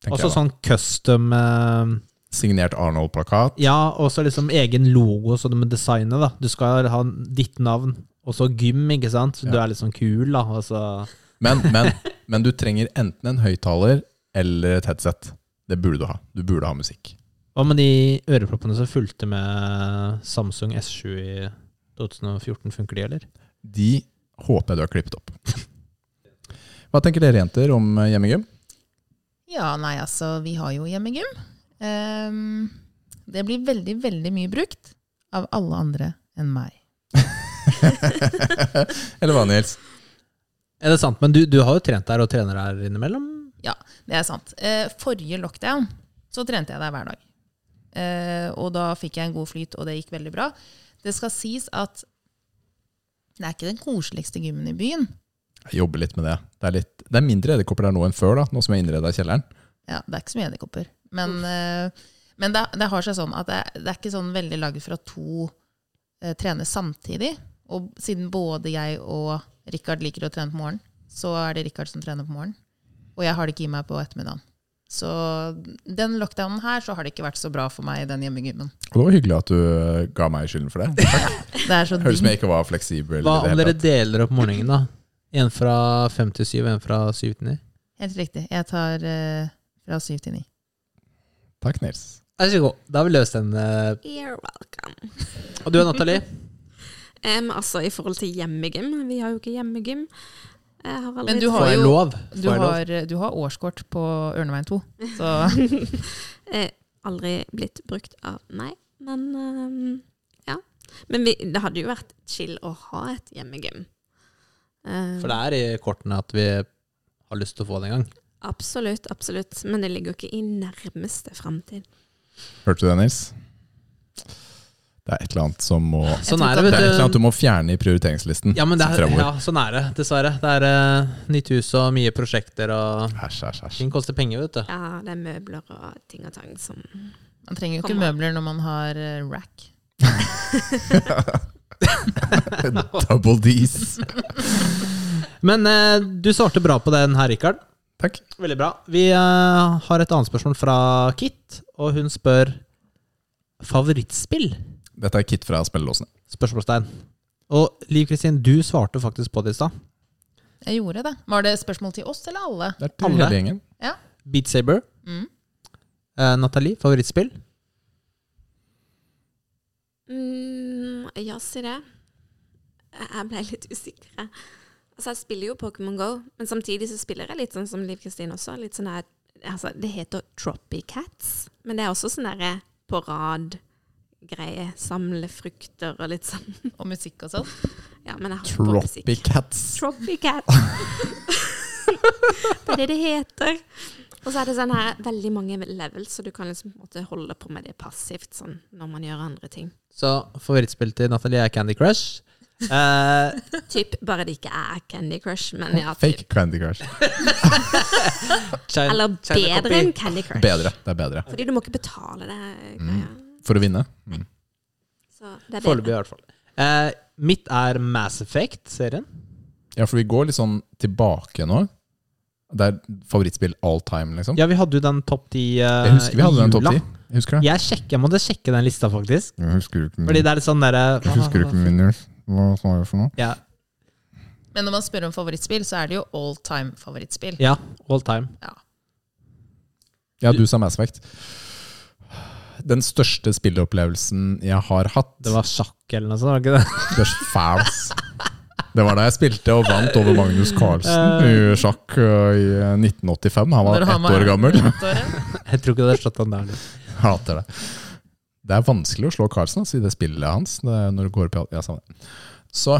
S4: tenker
S3: Også
S4: jeg da.
S3: sånn custom eh,
S4: Signert Arnold-plakat.
S3: Ja, og så liksom egen logo, så du må designe, da. Du skal ha ditt navn, og så gym, ikke sant? Så du
S4: Ja.
S3: er litt sånn kul, da. Og så
S4: Men, men, men du trenger enten en høyttaler eller et headset. Det burde du ha. Du burde ha musikk.
S3: Hva med de øreproppene som fulgte med Samsung S7 i 2014? Funker de, eller?
S4: De håper jeg du har klippet opp. Hva tenker dere jenter om eh, hjemmegym?
S2: Ja, nei, altså, vi har jo hjemmegym. Ehm, det blir veldig, veldig mye brukt av alle andre enn meg.
S4: Eller hva, Nils?
S3: Er det sant? Men du, du har jo trent der og trener der innimellom?
S2: Det er sant. Eh, forrige lockdown så trente jeg der hver dag. Eh, og da fikk jeg en god flyt, og det gikk veldig bra. Det skal sies at det er ikke den koseligste gymmen i byen.
S4: Jeg jobber litt med det. Det er, litt, det er mindre edderkopper der nå enn før, da, nå som jeg innreda kjelleren.
S2: Ja, det er ikke så mye edderkopper. Men, eh, men det, det har seg sånn at det, det er ikke sånn veldig laget fra to eh, trene samtidig. Og siden både jeg og Rikard liker å trene på morgenen, så er det Rikard som trener på morgenen. Og jeg har det ikke i meg på ettermiddagen. Så den lockdownen her så har det ikke vært så bra for meg i den hjemmegymmen.
S4: Og det var hyggelig at du eh, ga meg skylden for det.
S2: Det er så
S4: Høres ut
S2: digg.
S4: som jeg ikke var fleksibel. i
S3: Hva
S4: det
S3: om
S4: hele
S3: dere
S4: tatt.
S3: deler opp morgenen, da? En fra fem til syv, en fra syv til ni?
S2: Helt riktig. Jeg tar eh, fra syv til ni.
S4: Takk, Nils.
S3: Jeg skal gå. Da har vi løst den. eh.
S1: You're welcome.
S3: Og du Nathalie?
S1: Em, altså, I forhold til hjemmegym Vi har jo ikke hjemmegym. Jeg har aldri
S2: Men du
S3: Får
S2: har
S3: jeg
S2: jo
S3: lov?
S2: du
S3: Får jeg lov?
S2: har, eh, du har årskort på Ørneveien 2, så
S1: Eh, aldri blitt brukt av meg, men ehm, ja. Men vi, det hadde jo vært chill å ha et hjemmegym. Eh,
S3: For det er i kortene at vi har lyst til å få det en gang.
S1: Absolutt, absolutt. Men det ligger jo ikke i nærmeste framtid.
S4: Hørte du det, Nils? Det er et eller annet som må Det
S3: Sånn
S2: tror
S3: er
S2: ikke
S3: det,
S4: er et eller
S3: vet
S4: annet
S3: du.
S4: du må fjerne i prioriteringslisten.
S3: Ja, men det er,
S4: fremover.
S3: ja, sånn er det, dessverre. Det er eh, nytt hus og mye prosjekter, og
S4: Æsj, æsj, æsj.
S3: ting koster penger, vet du.
S1: Ja, det er møbler og ting og tang som
S2: man trenger jo ikke
S1: Kom an.
S2: møbler når man har eh, rack.
S4: Double D's.
S3: Men eh, du svarte bra på den her, Rikard.
S4: Takk.
S3: Veldig bra. Vi eh, har et annet spørsmål fra Kit, og hun spør favorittspill?
S4: Dette er Kit fra Spellelåsene.
S3: Spørsmålstegn. Og Liv Kristin, du svarte faktisk på det i stad.
S2: Jeg gjorde det. Var det spørsmål til oss eller alle?
S4: Det er til
S3: Alle.
S4: hele gjengen.
S3: Beat Saber.
S2: Mm.
S3: Eh, Nathalie, favorittspill?
S1: mm, Ja, si det. Jeg jeg ble litt usikker. jeg. Altså, jeg spiller jo Pokémon Go, men samtidig så spiller jeg litt sånn som Liv Kristin også. Litt sånn der, altså, det heter Troppy Cats, men det er også sånn derre på rad-greie. Samle frukter og litt sånn.
S2: Og musikk og sånn?
S1: Ja, men jeg har på musikk.
S4: Tropicats.
S1: Tropicats. det er det det heter. Og så er det sånn her veldig mange levels, så du kan liksom på en måte holde på med det passivt sånn, når man gjør andre ting.
S3: Så favorittspill til Nathalie er Candy Crush. Eh,
S1: Typ, bare det ikke er Candy Crush, men ja. Typ.
S4: Fake Candy Crush.
S3: China-
S1: Eller
S3: China
S1: bedre enn
S3: Copy.
S1: Candy Crush.
S4: Bedre. Det er bedre.
S1: Fordi du må ikke betale det. greia.
S4: For å vinne. Mm.
S1: Så det er
S3: Foreløpig, i
S1: bedre.
S3: hvert fall. Eh, mitt er Mass Effect-serien.
S4: Ja, for vi går litt sånn tilbake nå. Det er favorittspill all time, liksom.
S3: Ja, vi hadde jo den topp ti eh,
S4: Jeg husker vi hadde den
S3: i
S4: topp
S3: jula.
S4: 10. Jeg husker det.
S3: Jeg, sjekker, jeg måtte sjekke den lista, faktisk.
S4: Jeg husker ikke
S3: Fordi det er litt sånn derre
S4: min, Nils. Hva sa jeg for noe?
S3: Ja,
S2: Men når man spør om favorittspill, så er det jo all time favorittspill.
S3: ja, all time.
S4: Ja, du sa Mass Effect. Den største spilleopplevelsen jeg har hatt
S3: Det var sjakk eller noe sånt, var det ikke det?
S4: Du er så fæl, ass. Det var da jeg spilte og vant over Magnus Carlsen i sjakk øh, i 1985. Han var
S2: Når han
S4: ett
S2: var-
S4: år gammel.
S2: Ettåret.
S3: Jeg tror ikke det har slått den der. liksom.
S4: Jeg Hater det. Det er vanskelig å slå Carlsen ass, i det spillet hans. Det, er når det går på, ja, samme det. Så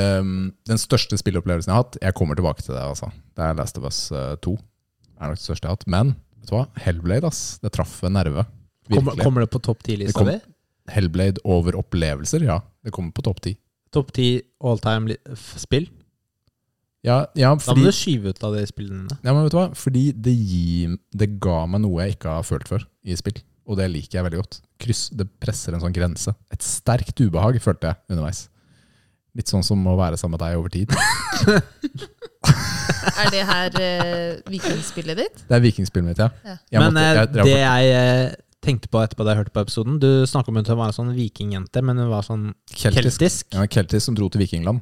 S4: øhm, den største spilleopplevelsen jeg har hatt Jeg kommer tilbake til det. altså. Det er Last of Us øh, 2. Det er nok det største jeg har hatt. Men vet du hva? Hellblade, ass. Det traff en nerve.
S3: Kommer,
S4: Virkelig.
S3: kommer det på topp
S4: Det
S3: ti-lista
S4: kom-
S3: di?
S4: Hellblade over opplevelser, ja. Det kommer på topp ti.
S3: Topp ti all time-spill?
S4: Ja, ja,
S3: Da må
S4: fordi
S3: du skyve ut av de spillene dine.
S4: Ja, men vet du hva? Fordi det, gir, det ga meg noe jeg ikke har følt før i spill. Og det liker jeg veldig godt. Kryss, det presser en sånn grense. Et sterkt ubehag følte jeg underveis. Litt sånn som å være sammen med deg over tid.
S2: Er det her eh, vikingspillet ditt?
S4: Det er vikingspillet mitt, ja.
S2: Ja.
S4: Jeg
S3: men
S4: måtte-
S3: eh,
S4: jeg- jeg-
S3: det jeg eh, tenkte på etterpå da jeg hørte på episoden Du snakka om at hun var en sånn vikingjente, men hun var sånn keltisk.
S4: keltisk. Ja, men keltisk som dro til vikingland.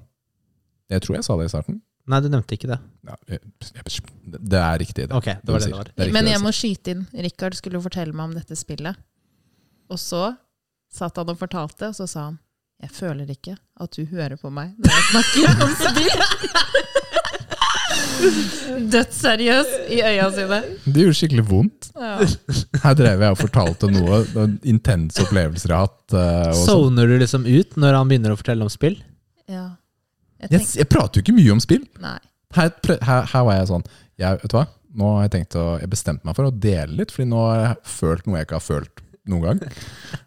S4: Jeg tror jeg sa det i starten.
S3: Nei, du nevnte ikke det.
S4: Ja, jeg, jeg, det er riktig, det.
S3: Ok, det var det det
S4: du sier.
S3: var.
S4: er riktig altså.
S2: Men
S4: det
S2: jeg
S4: du
S2: må skyte inn. Rikard skulle jo fortelle meg om dette spillet. Og så satt han og fortalte, og så sa han jeg føler ikke at du hører på meg når jeg snakker om spill. Dødsseriøs i øya sine.
S4: sier. Det gjorde skikkelig vondt.
S2: Ja.
S4: Her drev jeg og fortalte noe. noen Intense opplevelser jeg har hatt. eh, og sånn.
S3: Soner du liksom ut når han begynner å fortelle om spill?
S2: Ja. Jeg
S4: Jeg,
S2: tenk-
S4: jeg prater jo ikke mye om spill.
S2: Nei.
S4: her, prø- her, her var jeg sånn jeg, Vet du hva? Nå har jeg tenkt å Jeg bestemte meg for å dele litt, Fordi nå har jeg følt noe jeg ikke har følt noen gang.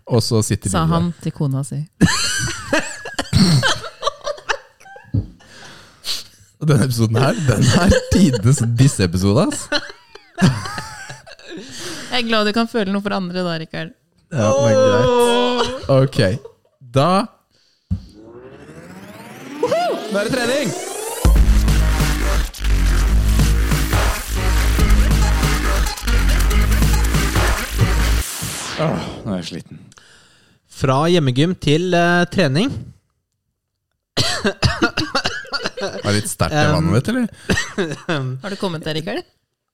S4: Og så sitter
S2: Sa
S4: vi der.
S2: han til kona si.
S4: Og Denne episoden her, den er tidenes disseepisode, ass.
S2: Jeg er glad du kan føle noe for andre da, Rikard.
S4: Ja, men greit. Ok. Da Nå er det trening! Åh, Ah, nå er jeg sliten.
S3: Fra hjemmegym til eh, trening.
S4: Er det litt sterkt i vannet mitt, eller?
S2: Har du kommet der, Rikard?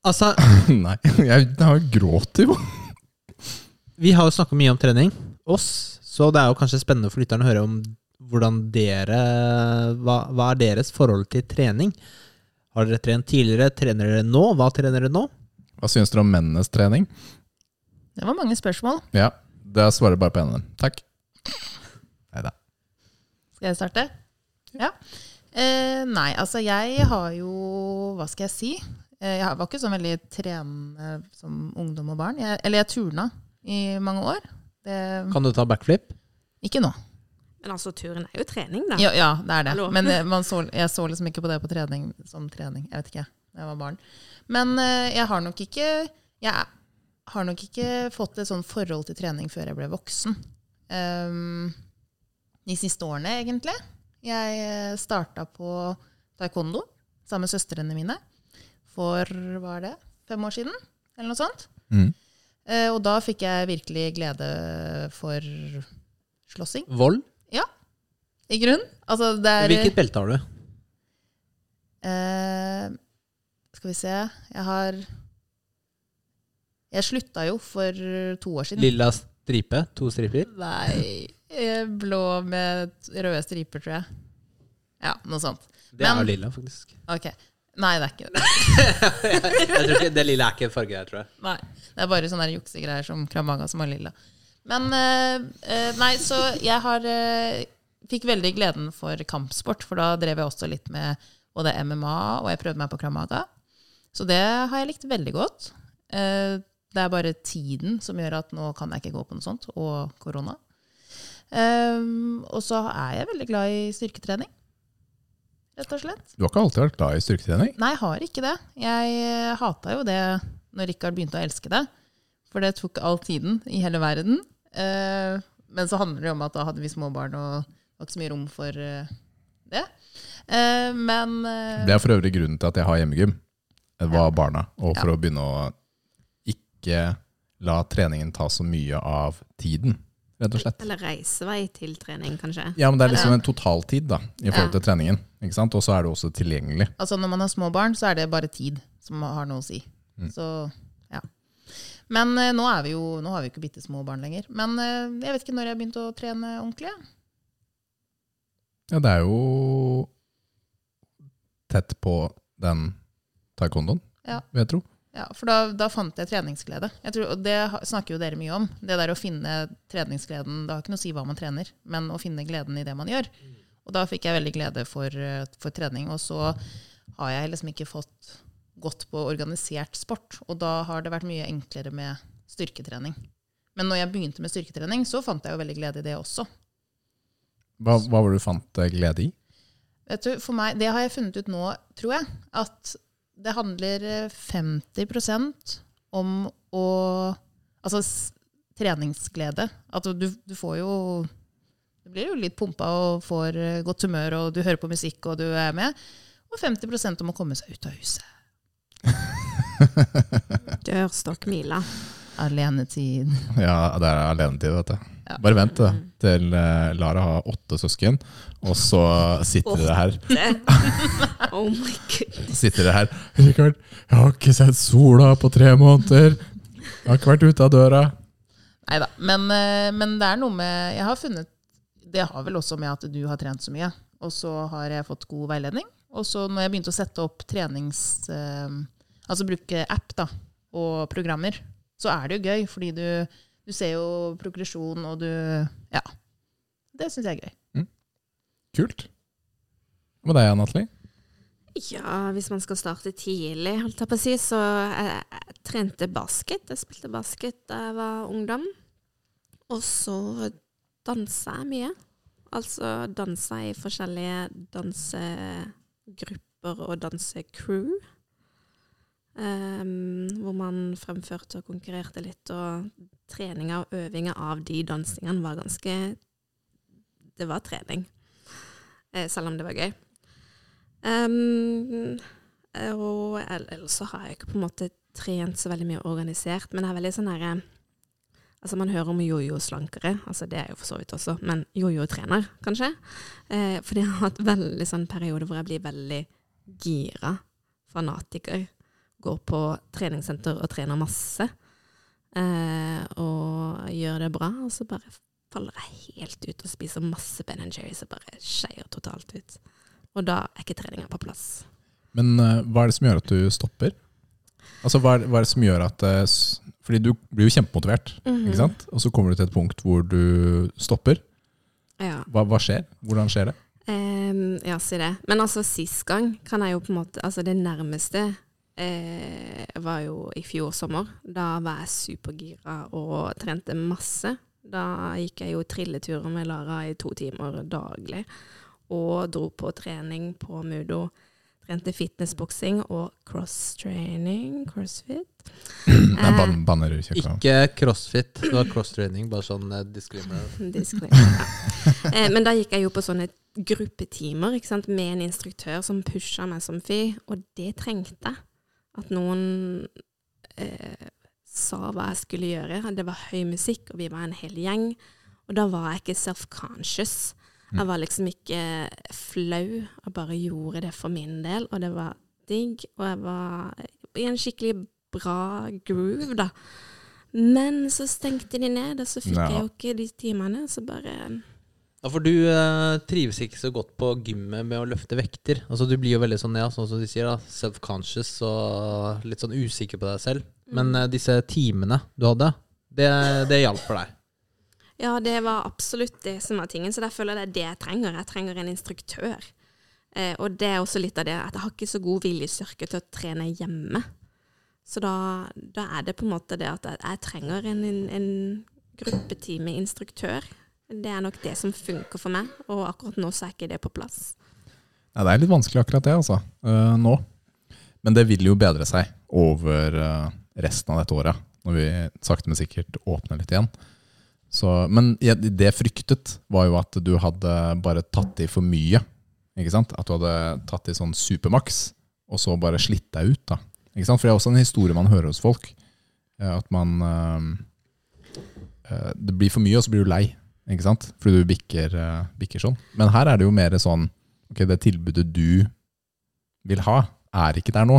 S3: Altså,
S4: Nei, jeg, jeg har grått i vann.
S3: vi har jo snakket mye om trening, oss, så det er jo kanskje spennende for lytterne å høre om hvordan dere hva, hva er deres forhold til trening? Har dere trent tidligere? Trener dere nå? Hva trener dere nå?
S4: Hva syns dere om mennenes trening?
S2: Det var mange spørsmål.
S4: Ja, det svarer bare på en av dem. Takk. Neida.
S2: Skal jeg starte? Ja. Eh, nei, altså jeg har jo Hva skal jeg si? Eh, jeg var ikke sånn veldig trenende som ungdom og barn. Jeg, eller jeg turna i mange år. Det,
S3: Kan du ta backflip?
S2: ikke nå.
S1: Men altså, turen er jo trening, da.
S2: Ja, ja, det er det.
S1: Hallo.
S2: Men eh, man så, jeg så liksom ikke på det på trening som trening. Jeg vet ikke, da jeg var barn. Men eh, jeg har nok ikke Jeg har nok ikke fått et sånn forhold til trening før jeg ble voksen. Ehm, de siste årene, egentlig. Jeg starta på taekwondo sammen med søstrene mine for hva er det, fem år siden, eller noe sånt.
S4: Mm.
S2: Eh, og da fikk jeg virkelig glede for slåssing,
S3: Vold?
S2: i grunnen. Altså, det er,
S3: Hvilket belte har du?
S2: Eh, skal vi se Jeg har Jeg slutta jo for to år siden.
S3: Lilla stripe? To striper?
S2: Nei eh, Blå med t- røde striper, tror jeg. Ja, noe sånt.
S3: Det er
S2: Men-
S3: jo lilla, faktisk.
S2: Ok. Nei, det er ikke det.
S3: Jeg tror ikke, det lilla er ikke en farge her, tror jeg.
S2: Nei. Det er bare sånne der juksegreier som Kramaga som har lilla. Men eh, eh, Nei, så jeg har eh, Fikk veldig gleden for kampsport, for da drev jeg også litt med både MMA, og jeg prøvde meg på Kramaga. Så det har jeg likt veldig godt. Eh, Det er bare tiden som gjør at nå kan jeg ikke gå på noe sånt, og korona. Ehm, og så er jeg veldig glad i styrketrening, rett og slett.
S4: Du har ikke alltid vært glad i styrketrening?
S2: Nei, jeg har ikke det. Jeg hata jo det når Rikard begynte å elske det, for det tok all tiden i hele verden. Eh, men så handler det jo om at da hadde vi små barn, og det var ikke så mye rom for eh, det. Eh, men eh,
S4: Det er for øvrig grunnen til at jeg har hjemmegym. Det var barna. Og for å begynne å ikke la treningen ta så mye av tiden, rett og slett.
S1: Eller reisevei til trening, kanskje.
S4: Ja, men det er liksom
S2: Ja.
S4: en totaltid da, i
S1: Ja.
S4: forhold til treningen. ikke sant? Og så er det også tilgjengelig.
S2: Altså når man har små barn, så er det bare tid som har noe å si. Så, ja. Men eh, nå, er vi jo, nå har vi jo ikke bitte små barn lenger. Men eh, jeg vet ikke når jeg begynte å trene ordentlig. jeg.
S4: Ja, det er jo tett på den taekwondoen,
S2: Ja.
S4: vil jeg tro.
S2: Ja, for da, da fant jeg treningsglede. Jeg tror, og det ha- snakker jo dere mye om. Det der å finne treningsgleden Det har ikke noe å si hva man trener, men å finne gleden i det man gjør. Og da fikk jeg veldig glede for, eh, for trening. Og så har jeg liksom ikke fått gått på organisert sport, og da har det vært mye enklere med styrketrening. Men når jeg begynte med styrketrening, så fant jeg jo veldig glede i det også.
S4: Hva, hva var det du fant eh, glede i?
S2: Vet du, for meg, Det har jeg funnet ut nå, tror jeg, at det handler eh, 50 om å Altså s- treningsglede. At du, du får jo Du blir jo litt pumpa og får eh, godt humør, og du hører på musikk, og du er med. Og 50 om å komme seg ut av huset.
S1: Dørstokkmila.
S2: Alenetid.
S4: Ja, det er alenetid, vet du. Bare vent da, til eh, Lara har åtte søsken, og så sitter dere her.
S1: Oh my god.
S4: Sitter dere her. Rikard, jeg har ikke sett sola på tre måneder. Jeg har ikke vært ute av døra.
S2: Nei da. Men, eh, men det er noe med Jeg har funnet Det har vel også med at du har trent så mye. Og så har jeg fått god veiledning. Og så når jeg begynte å sette opp trenings... eh, altså bruke app da, og programmer, så er det jo gøy, fordi du, du ser jo progresjon, og du Ja. Det syns jeg er gøy.
S4: Kult. Hva med deg, Nathalie?
S1: Ja, hvis man skal starte tidlig, holdt jeg på å si, så jeg, jeg trente basket. Jeg spilte basket da jeg var ungdom. Og så dansa jeg mye. Altså dansa i forskjellige dansegrupper og dansecrew. Ehm, hvor man fremførte og konkurrerte litt, og treninga og øvinga av de dansingene var ganske det var trening. Eh, selv om det var gøy. Ehm, og ell- ellers så har jeg ikke på en måte trent så veldig mye organisert, men jeg er veldig sånn herre Altså, man hører om jojo-slankere, altså det er jeg jo for så vidt også, men jojo-trener, kanskje. Eh, fordi jeg har hatt veldig sånn periode hvor jeg blir veldig gira fanatiker. Går på treningssenter og trener masse. Eh, og gjør det bra, og så bare faller jeg helt ut og spiser masse Ben Jerry's og bare skeier totalt ut. Og da er ikke treninga på plass.
S4: Men eh, hva er det som gjør at du stopper? Altså, hva er, hva er det som gjør at eh, s- Fordi du blir jo kjempemotivert,
S1: Mm.
S4: ikke sant? Og så kommer du til et punkt hvor du stopper.
S1: Ja.
S4: Hva, hva skjer? Hvordan skjer det?
S1: Ehm, ja, si det. Men altså, sist gang kan jeg jo på en måte Altså, det nærmeste eh, var jo i fjor sommer. Da var jeg supergira og trente masse. Da gikk jeg jo trilleturer med Lara i to timer daglig. Og dro på trening på Mudo. Trente fitnessboksing og cross-training, crossfit.
S4: Nei,
S1: Eh,
S4: ban banner kjøkkenet.
S3: Ikke crossfit. Det var cross-training, bare sånn eh, disclaimer.
S1: Disclaimer. Ja. Eh, Men da gikk jeg jo på sånne gruppetimer ikke sant? med en instruktør som pusha meg som fy, og det trengte jeg. At noen eh, sa hva jeg skulle gjøre. Det var høy musikk, og vi var en hel gjeng. Og da var jeg ikke self-conscious. Jeg var liksom ikke flau, jeg bare gjorde det for min del, og det var digg. Og jeg var i en skikkelig bra groove, da. Men så stengte de ned, og så fikk
S4: Ja.
S1: jeg jo ikke de timene. Så bare
S3: Ja, for du eh, trives ikke så godt på gymmet med å løfte vekter. Altså, du blir jo veldig sånn, ja, sånn som de sier, da, self-conscious og litt sånn usikker på deg selv.
S1: Mm.
S3: Men eh, disse timene du hadde, det, det hjalp for deg.
S1: Ja, det var absolutt det som var tingen, så der føler jeg det er det jeg trenger. Jeg trenger en instruktør. Eh, og det er også litt av det at jeg har ikke så god viljestyrke til å trene hjemme. Så da, da er det på en måte det at jeg, jeg trenger en, en, en gruppetime-instruktør. Det er nok det som funker for meg, og akkurat nå så er ikke det på plass.
S4: Nei, det er litt vanskelig akkurat det, altså. eh, nå. Men det vil jo bedre seg over eh, resten av dette året, når vi sakte, men sikkert åpner litt igjen. Så, men jeg- det jeg fryktet, var jo at du hadde bare tatt i for mye. Ikke sant? At du hadde tatt i sånn supermaks, og så bare slitt deg ut. da. Ikke sant? For det er også en historie man hører hos folk. eh, At man eh, eh, Det blir for mye, og så blir du lei. Ikke sant? Fordi du bikker, eh, bikker sånn. Men her er det jo mer sånn ok, det tilbudet du vil ha, er ikke der nå.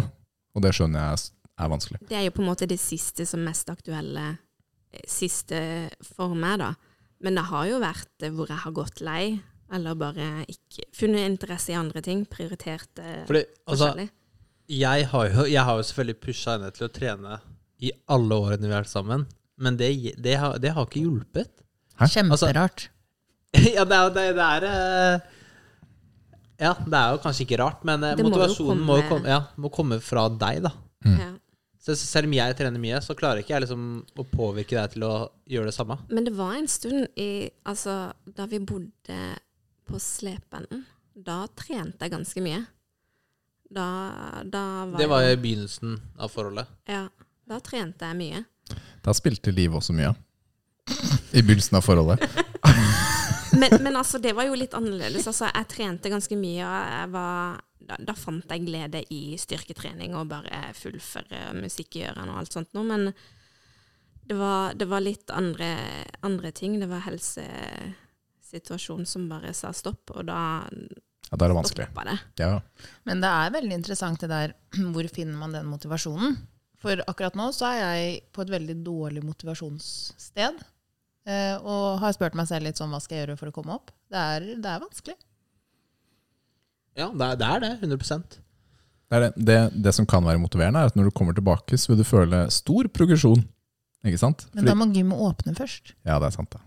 S4: Og det skjønner jeg s- er vanskelig.
S1: Det er jo på en måte det siste som mest aktuelle eh, siste for meg, da. Men det har jo vært eh, hvor jeg har gått lei, eller bare ikke funnet interesse i andre ting. Prioritert eh,
S3: Fordi, altså,
S1: forskjellig.
S3: jeg har jo, jeg har jo selvfølgelig pusha henne til å trene i alle årene vi har vært sammen, men det, det, har, det har ikke hjulpet.
S2: Kjemperart.
S3: ja, det er, det, det er eh, Ja, det er jo kanskje ikke rart, men eh,
S1: Det må jo
S3: motivasjonen må, jo
S1: komme-
S3: komme, ja, må komme fra deg, da.
S1: Ja.
S3: Så selv om jeg trener mye, så klarer ikke jeg liksom å påvirke deg til å gjøre det samme.
S1: Men det var en stund i Altså, da vi bodde på Slependen, da trente jeg ganske mye. Da, da var
S3: Det var
S1: jeg
S3: i begynnelsen av forholdet.
S1: Ja. Da trente jeg mye.
S4: Da spilte Liv også mye. I begynnelsen av forholdet.
S1: Men, men altså, det var jo litt annerledes. Altså, jeg trente ganske mye, og jeg var, da, da fant jeg glede i styrketrening og bare fullføre musikkgjøren og alt sånt noe. Men det var, det var litt andre, andre ting. Det var helsesituasjonen som bare sa stopp, og da
S4: Ja, da er det vanskelig.
S1: stoppa det.
S4: Ja.
S2: Men det er veldig interessant det der hvor finner man den motivasjonen. For akkurat nå så er jeg på et veldig dårlig motivasjonssted. eh, Og har spurt meg selv litt sånn hva skal jeg gjøre for å komme opp. Det er, det er vanskelig.
S3: Ja, det er det, er det 100
S4: Det, er det, det, det som kan være motiverende, er at når du kommer tilbake, så vil du føle stor progresjon. Ikke sant?
S2: Men da
S4: Fordi,
S2: må gymmet åpne først.
S4: ja, det er sant, det.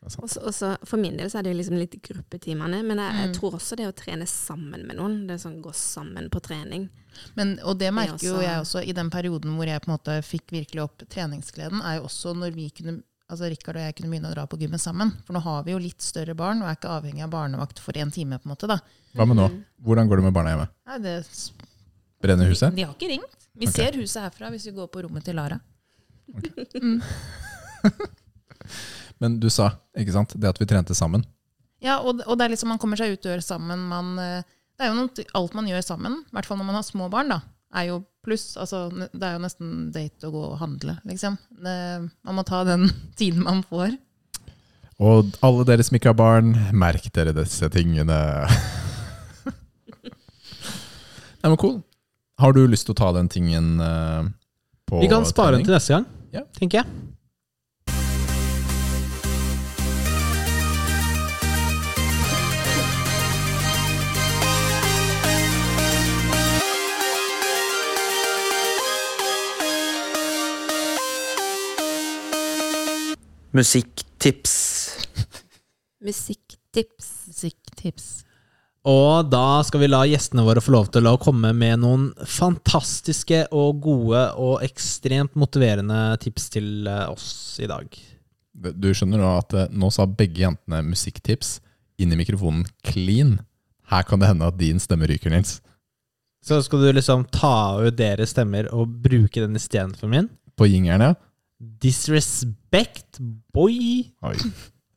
S4: det er sant.
S1: Og så- og så For min del så er det jo liksom litt gruppetimene, men jeg, jeg tror også det å trene sammen med noen, det er sånn gå sammen på trening
S2: Men, og det merker jo
S1: også-
S2: jeg også i den perioden hvor jeg på en måte fikk virkelig opp treningsgleden, er jo også når vi kunne Altså Rikard og jeg kunne begynne å dra på gymmet sammen. For nå har vi jo litt større barn og er ikke avhengig av barnevakt for én time. på en måte da.
S4: Hva med nå?
S2: Mm.
S4: Hvordan går det med barna hjemme?
S2: Nei, det,
S4: Brenner huset?
S2: De har ikke ringt. Vi
S4: Ok.
S2: ser huset herfra hvis vi går på rommet til Lara.
S4: Men du sa, ikke sant, det at vi trente sammen.
S2: Ja, og, og det er liksom man kommer seg ut dør sammen. Man, eh, det er jo noe, alt man gjør sammen, i hvert fall når man har små barn, da, er jo pluss. Altså, ne- det er jo nesten date å gå og handle, liksom. Det, man må ta den tiden man får.
S4: Og alle dere som ikke har barn, merk dere disse tingene. Nei, men cool. Har du lyst til å ta den tingen eh, på
S3: Vi kan spare den til neste gang,
S4: Ja.
S3: tenker jeg.
S5: Musikktips.
S1: Musikktips.
S2: Musikktips.
S3: Og da skal vi la gjestene våre få lov til å komme med noen fantastiske og gode og ekstremt motiverende tips til eh, oss i dag.
S4: Du skjønner nå at eh, nå sa begge jentene musikktips inn i mikrofonen clean. Her kan det hende at din stemme ryker, Nils.
S3: Så skal du liksom ta ut deres stemmer og bruke den istedenfor min?
S4: På jingeren, ja.
S3: Disrespect, boy!
S4: Oi.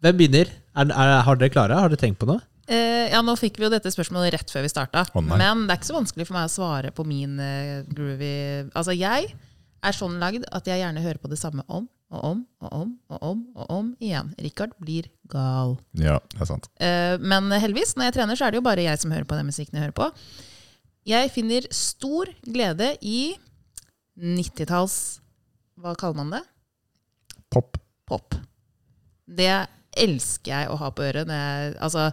S3: Hvem begynner? Er, er, har dere klare? Har dere tenkt på noe?
S2: Eh, ja, nå fikk vi jo dette spørsmålet rett før vi starta,
S4: Å, nei.
S2: men det er ikke så vanskelig for meg å svare på min eh, groovy Altså, jeg er sånn lagd at jeg gjerne hører på det samme om og om og om og om og om igjen. Richard blir gal.
S4: Ja, det er sant.
S2: Eh, men heldigvis, når jeg trener, så er det jo bare jeg som hører på den musikken jeg hører på. Jeg finner stor glede i 90-talls Hva kaller man det?
S4: Pop.
S2: Pop. Det elsker jeg å ha på øret. Når jeg, altså,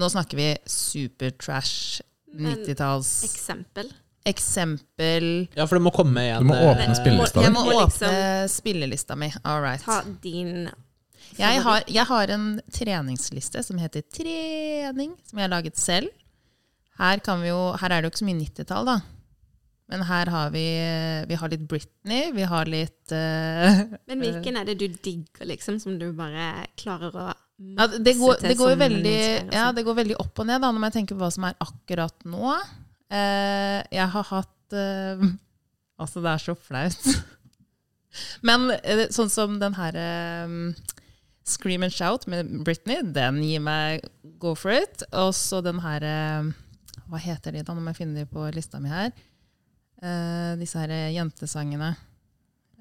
S2: nå snakker vi supertrash,
S1: Men-
S2: 90-talls
S1: Eksempel.
S2: Eksempel
S3: Ja, for det må komme eh, igjen.
S4: Du må åpne
S1: Ja,
S4: spillelista
S2: Jeg
S4: di.
S2: må
S1: Eh, må liksom-
S2: åpne spillelista mi. All right.
S1: Ta din
S2: Jeg har, jeg har en treningsliste som heter Trening, som jeg har laget selv. Her, kan vi jo, her er det jo ikke så mye 90-tall, da. Men her har vi, vi har litt Britney, vi har litt eh,
S1: Men hvilken er det du digger, liksom, som du bare klarer å
S2: ja, det, går,
S1: matche
S2: det,
S1: til
S2: går jo
S1: som en
S2: veldig,
S1: inspirasjon?
S2: ja, det går veldig opp og ned, da, når jeg tenker på hva som er akkurat nå. Eh, jeg har hatt eh, Altså, det er så flaut. Men eh, sånn som den her eh, Scream and Shout med Britney, den gir meg go for it. Og så den her eh, Hva heter de, da, når jeg finner de på lista mi her? Eh, disse her eh, jentesangene.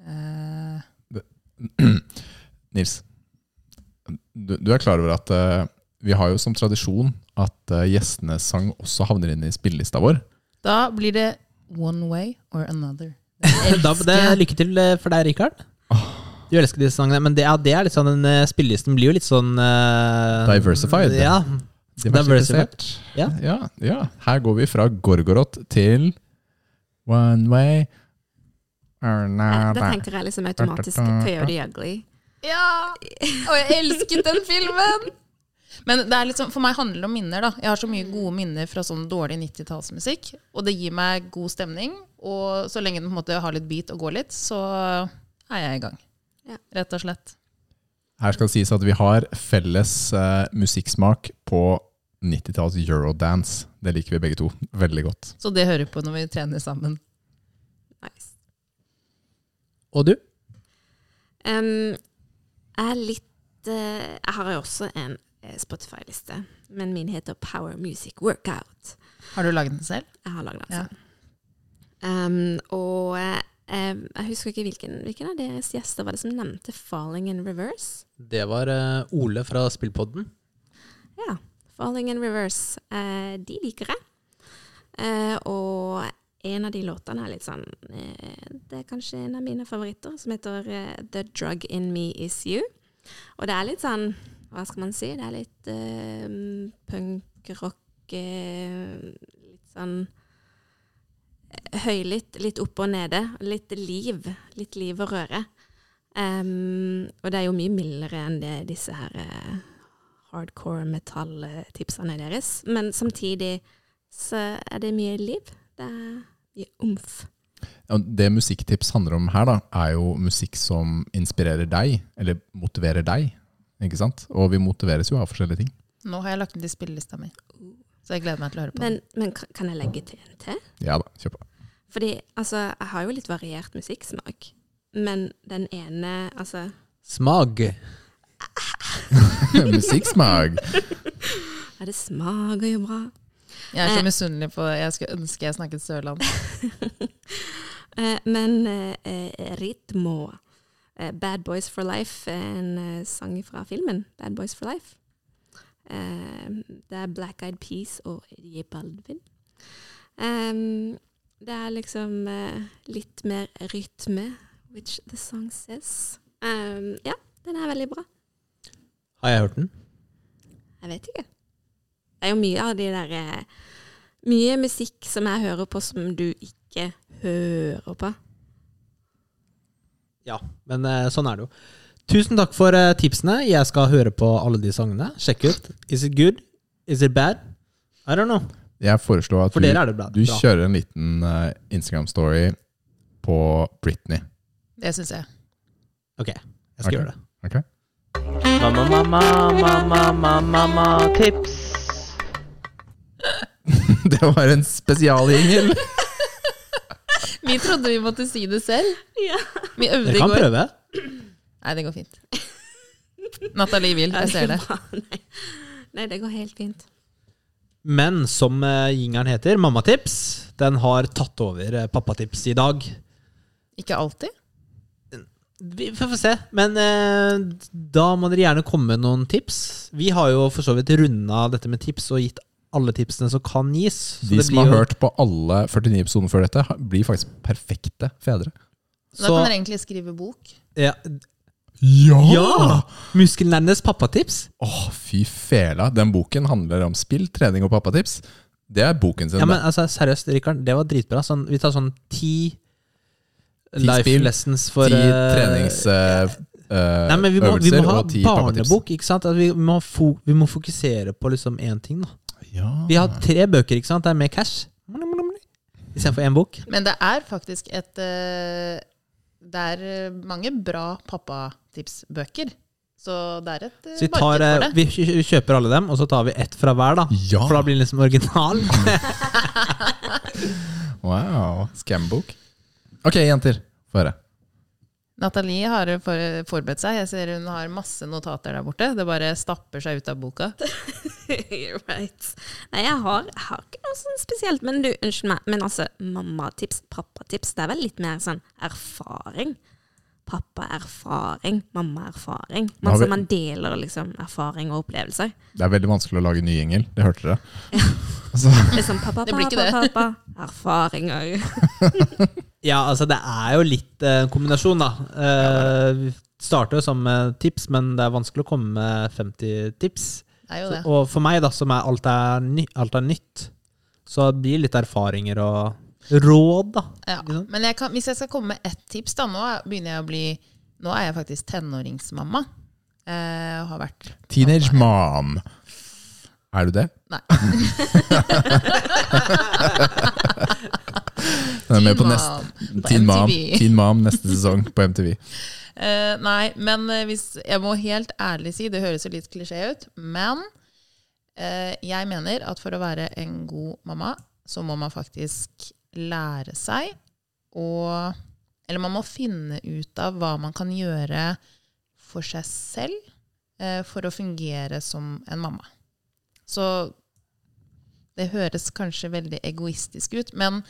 S2: Eh,
S4: Nils, du, du er klar over at eh, vi har jo som tradisjon at eh, gjestenes sang også havner inn i spillelista vår.
S2: da blir det One Way or Another.
S3: Da, det, lykke til eh, for deg, Rikard. Du elsker disse sangene, men det, ja, det er litt sånn, den eh, spillelisten blir jo litt sånn eh,
S4: Diversified.
S3: Ja. Diversified. Ja.
S4: Ja, ja. Her går vi fra Gorgoroth til One Way or
S1: Ja,
S2: Ah,
S4: not.
S1: Da tenker jeg liksom automatisk Coyote Ugly.
S2: Ja! Og jeg elsket den filmen! Men det er liksom, for meg handler det om minner. da. Jeg har så mye gode minner fra sånn dårlig 90-tallsmusikk. Og det gir meg god stemning. Og så lenge den på en måte har litt beat og går litt, så er jeg i gang.
S1: Ja.
S2: Rett og slett.
S4: Her skal det sies at vi har felles eh, musikksmak på 90-talls eurodance. Det liker vi begge to veldig godt.
S2: Så det hører på når vi trener sammen.
S1: Nice.
S3: Og du?
S1: Um, jeg er litt eh, Jeg har jo også en eh, Spotify-liste, men min heter Power Music Workout.
S2: Har du laget den selv?
S1: Jeg har lagd den
S2: Ja.
S1: sånn. Um, og eh, em, jeg husker ikke hvilken, hvilken av deres gjester var det som nevnte 'Falling in Reverse'?
S3: Det var eh, Ole fra Spillpodden.
S1: Ja. 'Falling in Reverse'. Eh, de liker jeg. Eh, og en av de låtene er litt sånn eh, Det er kanskje en av mine favoritter, som heter eh, 'The Drug In Me Is You'. Og det er litt sånn Hva skal man si? Det er litt eh, punkrock eh, Litt sånn høylytt, litt opp og nede. Litt liv. Litt liv og røre. Em, og det er jo mye mildere enn det disse her eh, hardcore metalltipsene deres. Men samtidig så er det mye liv. Det er mye omf.
S4: Ja, Det musikktips handler om her, da, er jo musikk som inspirerer deg, eller motiverer deg. Ikke sant? Og vi motiveres jo av forskjellige ting.
S2: Nå har jeg lagt den til spillelista mi. Så jeg gleder meg til å høre på den.
S1: Men, men kan kan jeg legge til en til?
S4: Ja da, kjør på.
S1: Fordi altså, jeg har jo litt variert musikksmak. Men den ene Altså,
S3: Smag.
S4: Musikksmak!
S1: Ja, det smaker jo bra.
S2: Jeg er
S1: Eh.
S2: så misunnelig på Jeg skulle ønske jeg snakket sørland.
S1: Eh, men eh, eh, Ritmo, eh, Bad Boys for Life, er en eh, sang fra filmen Bad Boys for Life. Eh, det er Black Eyed Peas og Eddie Baldwin. Ehm, det er liksom eh, litt mer rytme, which the song says. Ehm, ja, den er veldig bra.
S3: Har jeg hørt den?
S1: Jeg vet ikke. Det er jo mye av de der eh, Mye musikk som jeg hører på som du ikke hører på.
S3: Men eh, sånn er det jo. Tusen takk for eh, tipsene. Jeg skal høre på alle de sangene. Sjekk ut. Is it good? Is it bad? I don't know.
S4: Jeg foreslår at
S3: For
S4: du,
S3: dere er det bra.
S4: du
S3: bra.
S4: kjører en liten eh, Instagram-story på Britney.
S2: Det syns jeg.
S3: Ok, jeg skal
S4: Ok.
S3: gjøre det.
S4: ok?
S5: Mamma, mamma, mamma, mamma, mamma, tips.
S4: Det var en spesialgjengel!
S2: Vi trodde vi måtte si det selv.
S1: Ja.
S2: Vi øvde i
S3: Dere kan
S2: går.
S3: prøve.
S2: Nei, det går fint. Nathalie vil, jeg ser det.
S1: Bra, Nei. Nei, det går helt fint.
S3: Men som eh, jingeren heter, Mammatips, den har tatt over eh, Pappatips i dag.
S2: Ikke alltid.
S3: Vi får få se. Men eh, da må dere gjerne komme med noen tips. Vi har jo for så vidt runda dette med tips og gitt alle tipsene som kan gis. Så
S4: De
S3: det
S4: som
S3: blir
S4: har
S3: jo-
S4: hørt på alle 49 episoder før dette, har- blir faktisk perfekte fedre.
S2: Da kan
S3: så-
S2: dere egentlig skrive bok.
S3: Ja!
S4: Ja!
S3: ja. Muskelnerdenes pappatips.
S4: Åh, fy fela. Den boken handler om spill, trening og pappatips. Det er boken sin.
S3: Ja,
S4: det.
S3: men altså, seriøst, Rikard, det var dritbra. Sånn, vi tar sånn ti,
S4: Ti
S3: life
S4: spill,
S3: lessons for
S4: ti
S3: eh,
S4: treningsøvelser
S3: Nei, men vi må, vi må ha
S4: eh, og ti pappatips.
S3: barnebok, ikke sant? At vi, må ha fo vi må fokusere på liksom én ting, da.
S4: Ja.
S3: Vi har tre bøker, ikke sant? Det er mer cash. Istedenfor én bok.
S2: Men det er faktisk et eh, Det er eh, mange bra pappatipsbøker. Så det er et
S3: Så vi,
S2: eh,
S3: tar,
S2: marked
S3: eh,
S2: for det.
S3: vi kjø- kjøper alle dem, og så tar vi ett fra hver, da.
S4: Ja.
S3: For da blir den liksom original.
S4: Wow. Scambok. Ok, jenter. Få høre.
S2: Nathalie har for, forberedt seg. Jeg ser hun har masse notater der borte. Det bare stapper seg ut av boka.
S1: You're right. Nei, jeg har, jeg har ikke noe sånn spesielt. Men du, unnskyld meg, men altså, mammatips, pappatips, det er vel litt mer sånn erfaring? Pappa-erfaring, mamma-erfaring.
S4: Da har
S1: Man,
S4: vi-
S1: så man deler liksom erfaring og opplevelser.
S4: Det er veldig vanskelig å lage ny gjengel. Det hørte dere. Altså,
S1: Liksom pappa,
S2: Det blir ikke
S1: pappa, pappa, erfaringer.
S3: ja, altså, det er jo litt eh, kombinasjon, da. Eh, vi starter jo som eh, tips, men det er vanskelig å komme med 50 tips.
S2: Det er jo
S3: Så,
S2: det.
S3: og for meg, da, som er alt er, ny, alt er nytt, så det blir litt erfaringer og råd, da.
S2: Ja.
S3: Ikke sant?
S2: Men jeg kan, hvis jeg skal komme med ett tips, da Nå er- begynner jeg å bli Nå er jeg faktisk tenåringsmamma. Eh, og har vært
S4: Teenage mom. Er du det?
S2: Nei.
S4: Den er med på
S2: Teen
S4: neste.
S2: Mom på
S4: Teen mom.
S2: MTV.
S4: Teen mom neste sesong på MTV.
S2: Eh, nei, men eh, hvis, jeg må helt ærlig si, det høres jo litt klisjé ut, men eh, jeg mener at for å være en god mamma, så må man faktisk lære seg å Eller man må finne ut av hva man kan gjøre for seg selv eh, for å fungere som en mamma. Så det høres kanskje veldig egoistisk ut, men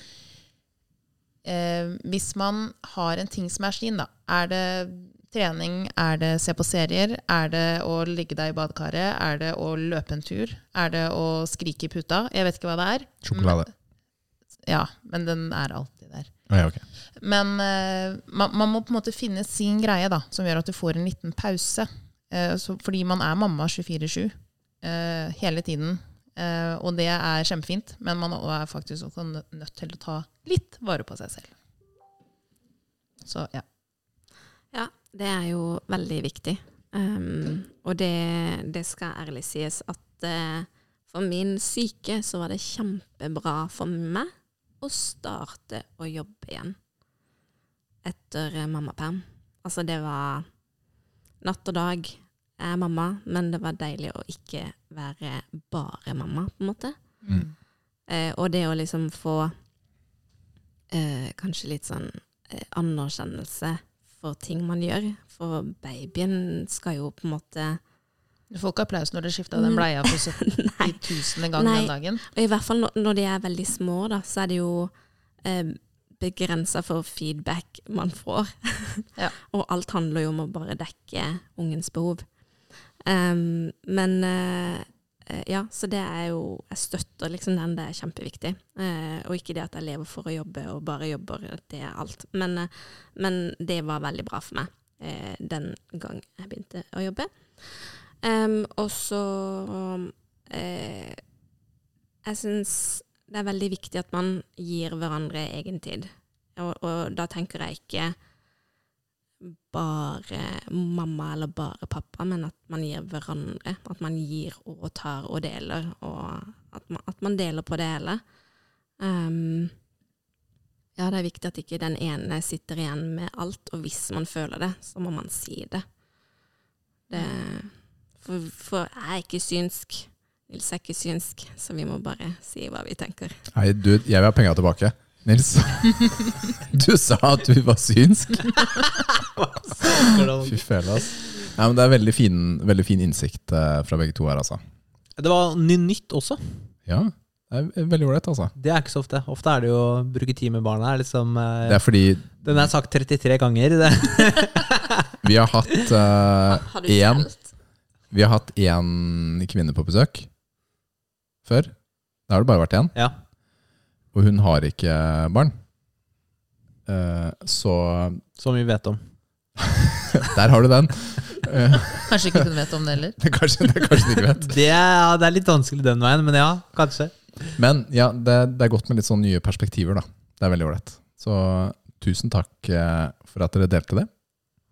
S2: eh, hvis man har en ting som er sin, da. Er det trening? Er det se på serier? Er det å ligge deg i badekaret? Er det å løpe en tur? Er det å skrike i puta? Jeg vet ikke hva det er.
S4: Sjokolade.
S2: Ja, men den er alltid der.
S4: Å ja, ok.
S2: Men eh, man, man må på en måte finne sin greie, da, som gjør at du får en liten pause. Eh, så, fordi man er mamma 24-7 eh, hele tiden. Eh, og det er kjempefint, men man er faktisk også nø- nødt til å ta litt vare på seg selv. Så ja.
S1: Ja, det er jo veldig viktig. Um, og det, det skal ærlig sies at eh, for min syke så var det kjempebra for meg å starte å jobbe igjen etter eh, mammaperm. Altså det var natt og dag. Jeg er mamma, men det var deilig å ikke være bare mamma, på en måte.
S4: Mm.
S1: Eh, og det å liksom få eh, kanskje litt sånn eh, anerkjennelse for ting man gjør. For babyen skal jo på en måte
S2: Du får ikke applaus når du skifta den bleia for 70 000 ganger
S1: Nei.
S2: den dagen.
S1: Og i hvert fall når, når de er veldig små, da, så er det jo eh, begrensa for feedback man får.
S2: Ja.
S1: og alt handler jo om å bare dekke ungens behov. Ehm, men eh, eh, ja, så det er jo Jeg støtter liksom den, det er kjempeviktig. Eh, og ikke det at jeg lever for å jobbe og bare jobber, det er alt. Men, eh, men det var veldig bra for meg eh, den gang jeg begynte å jobbe. Ehm, og så eh, jeg syns det er veldig viktig at man gir hverandre egen tid. Og, og da tenker jeg ikke bare mamma eller bare pappa, men at man gir hverandre. At man gir og tar og deler, og at man, at man deler på det hele. Ehm, ja, det er viktig at ikke den ene sitter igjen med alt, og hvis man føler det, så må man si det. det for, for jeg er ikke synsk. Nils er ikke synsk, så vi må bare si hva vi tenker.
S4: Nei, du, jeg vil ha penga tilbake. Nils, du sa at du var synsk. Fy fele, ass. Nei, men det er veldig fin, veldig fin innsikt eh, fra begge to her, altså.
S3: Det var ny- nytt også.
S4: Ja, det er veldig ålreit, altså.
S3: Det er ikke så ofte. Ofte er det jo å bruke tid med barna. Er liksom, eh,
S4: Det er fordi
S3: Den er sagt 33 ganger. Det.
S4: vi har hatt
S1: Har du
S4: eh, én
S1: telt?
S4: Vi har hatt én kvinne på besøk før. Da har det bare vært én.
S3: Ja.
S4: Og hun har ikke barn. Eh, så
S3: Som vi vet om.
S4: der har du den. Eh,
S2: Kanskje ikke hun vet om det heller.
S4: det er kanskje, det er kanskje du ikke vet.
S3: Det, ja, det er litt vanskelig den veien, men ja, kanskje.
S4: Men ja, det, det er godt med litt sånn nye perspektiver, da. Det er veldig ålreit. Så tusen takk eh, for at dere delte det.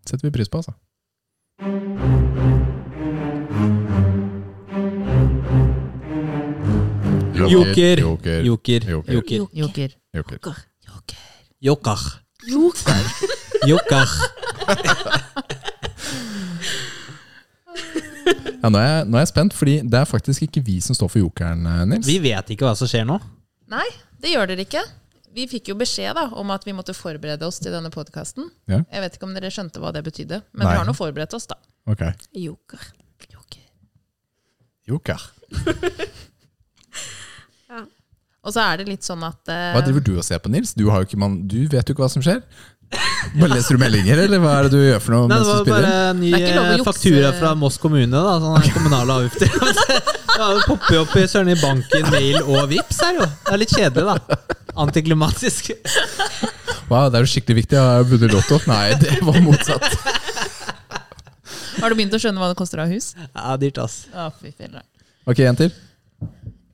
S4: Setter vi pris på, altså.
S3: Joker. Joker.
S4: Joker. Joker.
S3: Joker.
S2: Joker.
S4: Joker.
S1: Joker.
S3: Joker.
S1: Joker.
S3: Joker.
S4: Ja, nå, er jeg, nå er jeg spent, fordi det er faktisk ikke vi som står for jokeren, eh, Nils.
S3: Vi vet ikke hva som skjer nå.
S2: Nei, det gjør dere ikke. Vi fikk jo beskjed da, om at vi måtte forberede oss til denne podkasten.
S4: Ja.
S2: Jeg vet ikke om dere skjønte hva det betydde, men
S4: Nei.
S2: vi har nå forberedt oss, da.
S4: Ok.
S1: Joker.
S4: Joker.
S2: Og så er det litt sånn at eh,
S4: Hva driver du og ser på, Nils? Du, har jo ikke, man, du vet jo ikke hva som skjer. Bare leser du meldinger, eller hva er det du gjør for noe
S3: Nei, det
S4: mens du
S3: var
S4: spiller?
S3: bare en ny
S2: Det er ikke lov å
S3: eh,
S2: jukse.
S3: faktura fra Moss kommune. da, Sånn her kommunale avgifter. Ja, Det popper jo opp i søren i banken, mail og Vipps her, jo. Det er litt kjedelig, da. Antiklimatisk.
S4: Wow, det er jo skikkelig viktig. Har jeg vunnet lotto? Nei, det var motsatt.
S2: Har du begynt å skjønne hva det koster å ha hus?
S3: Ja, dyrt, ass.
S2: Å, fy filler.
S4: Ok, en til.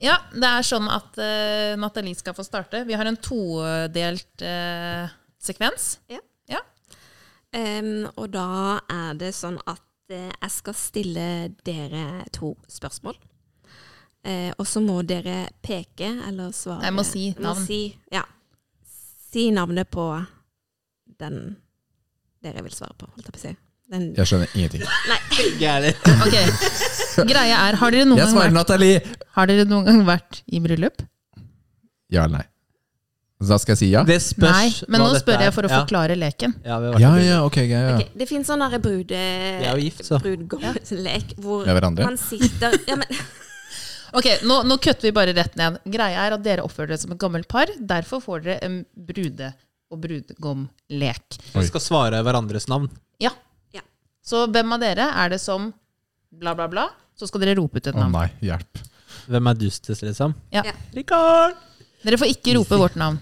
S2: Ja, det er sånn at eh, Nathalie skal få starte. Vi har en todelt eh, sekvens.
S1: Em, og da er det sånn at eh, jeg skal stille dere to spørsmål. Eh, og så må dere peke eller svare
S2: Jeg må si navn.
S1: si, ja. si navnet på den dere vil svare på, holdt jeg på å si. Den,
S4: Jeg skjønner ingenting.
S3: Gærlig.
S2: Ok, Greia er, har dere, noen
S4: Jeg
S2: gang
S4: svarer
S2: vært,
S4: Nathalie.
S2: har dere noen gang vært i bryllup?
S4: Ja eller nei? Så da skal jeg si ja?
S3: Det
S2: Nei,
S3: spørs
S2: men
S3: hva
S2: nå
S3: dette
S2: spør
S3: er.
S2: jeg for å
S3: Ja.
S2: forklare leken.
S3: Ja, vi har vært
S4: Ja,
S3: i bryllup.
S4: ja, ok, ja, ja.
S1: Ok, det finnes sånn derre brude...
S3: Vi er jo gift, så.
S1: Brudgommelek, hvor
S4: Med hverandre?
S1: man sitter ja, men,
S2: Ok, nå, nå kutter vi bare rett ned. Greia er at dere oppfører dere som et gammelt par. Derfor får dere en brude- og brudgom-lek.
S3: Vi skal svare hverandres navn.
S2: Ja.
S1: Ja.
S2: Så hvem av dere er det som bla, bla, bla? Så skal dere rope ut et
S4: Å
S2: navn.
S4: nei, hjelp.
S3: Hvem er dustest, liksom?
S2: Ja.
S1: Ja.
S3: Rikard!
S2: Dere får ikke rope vårt navn.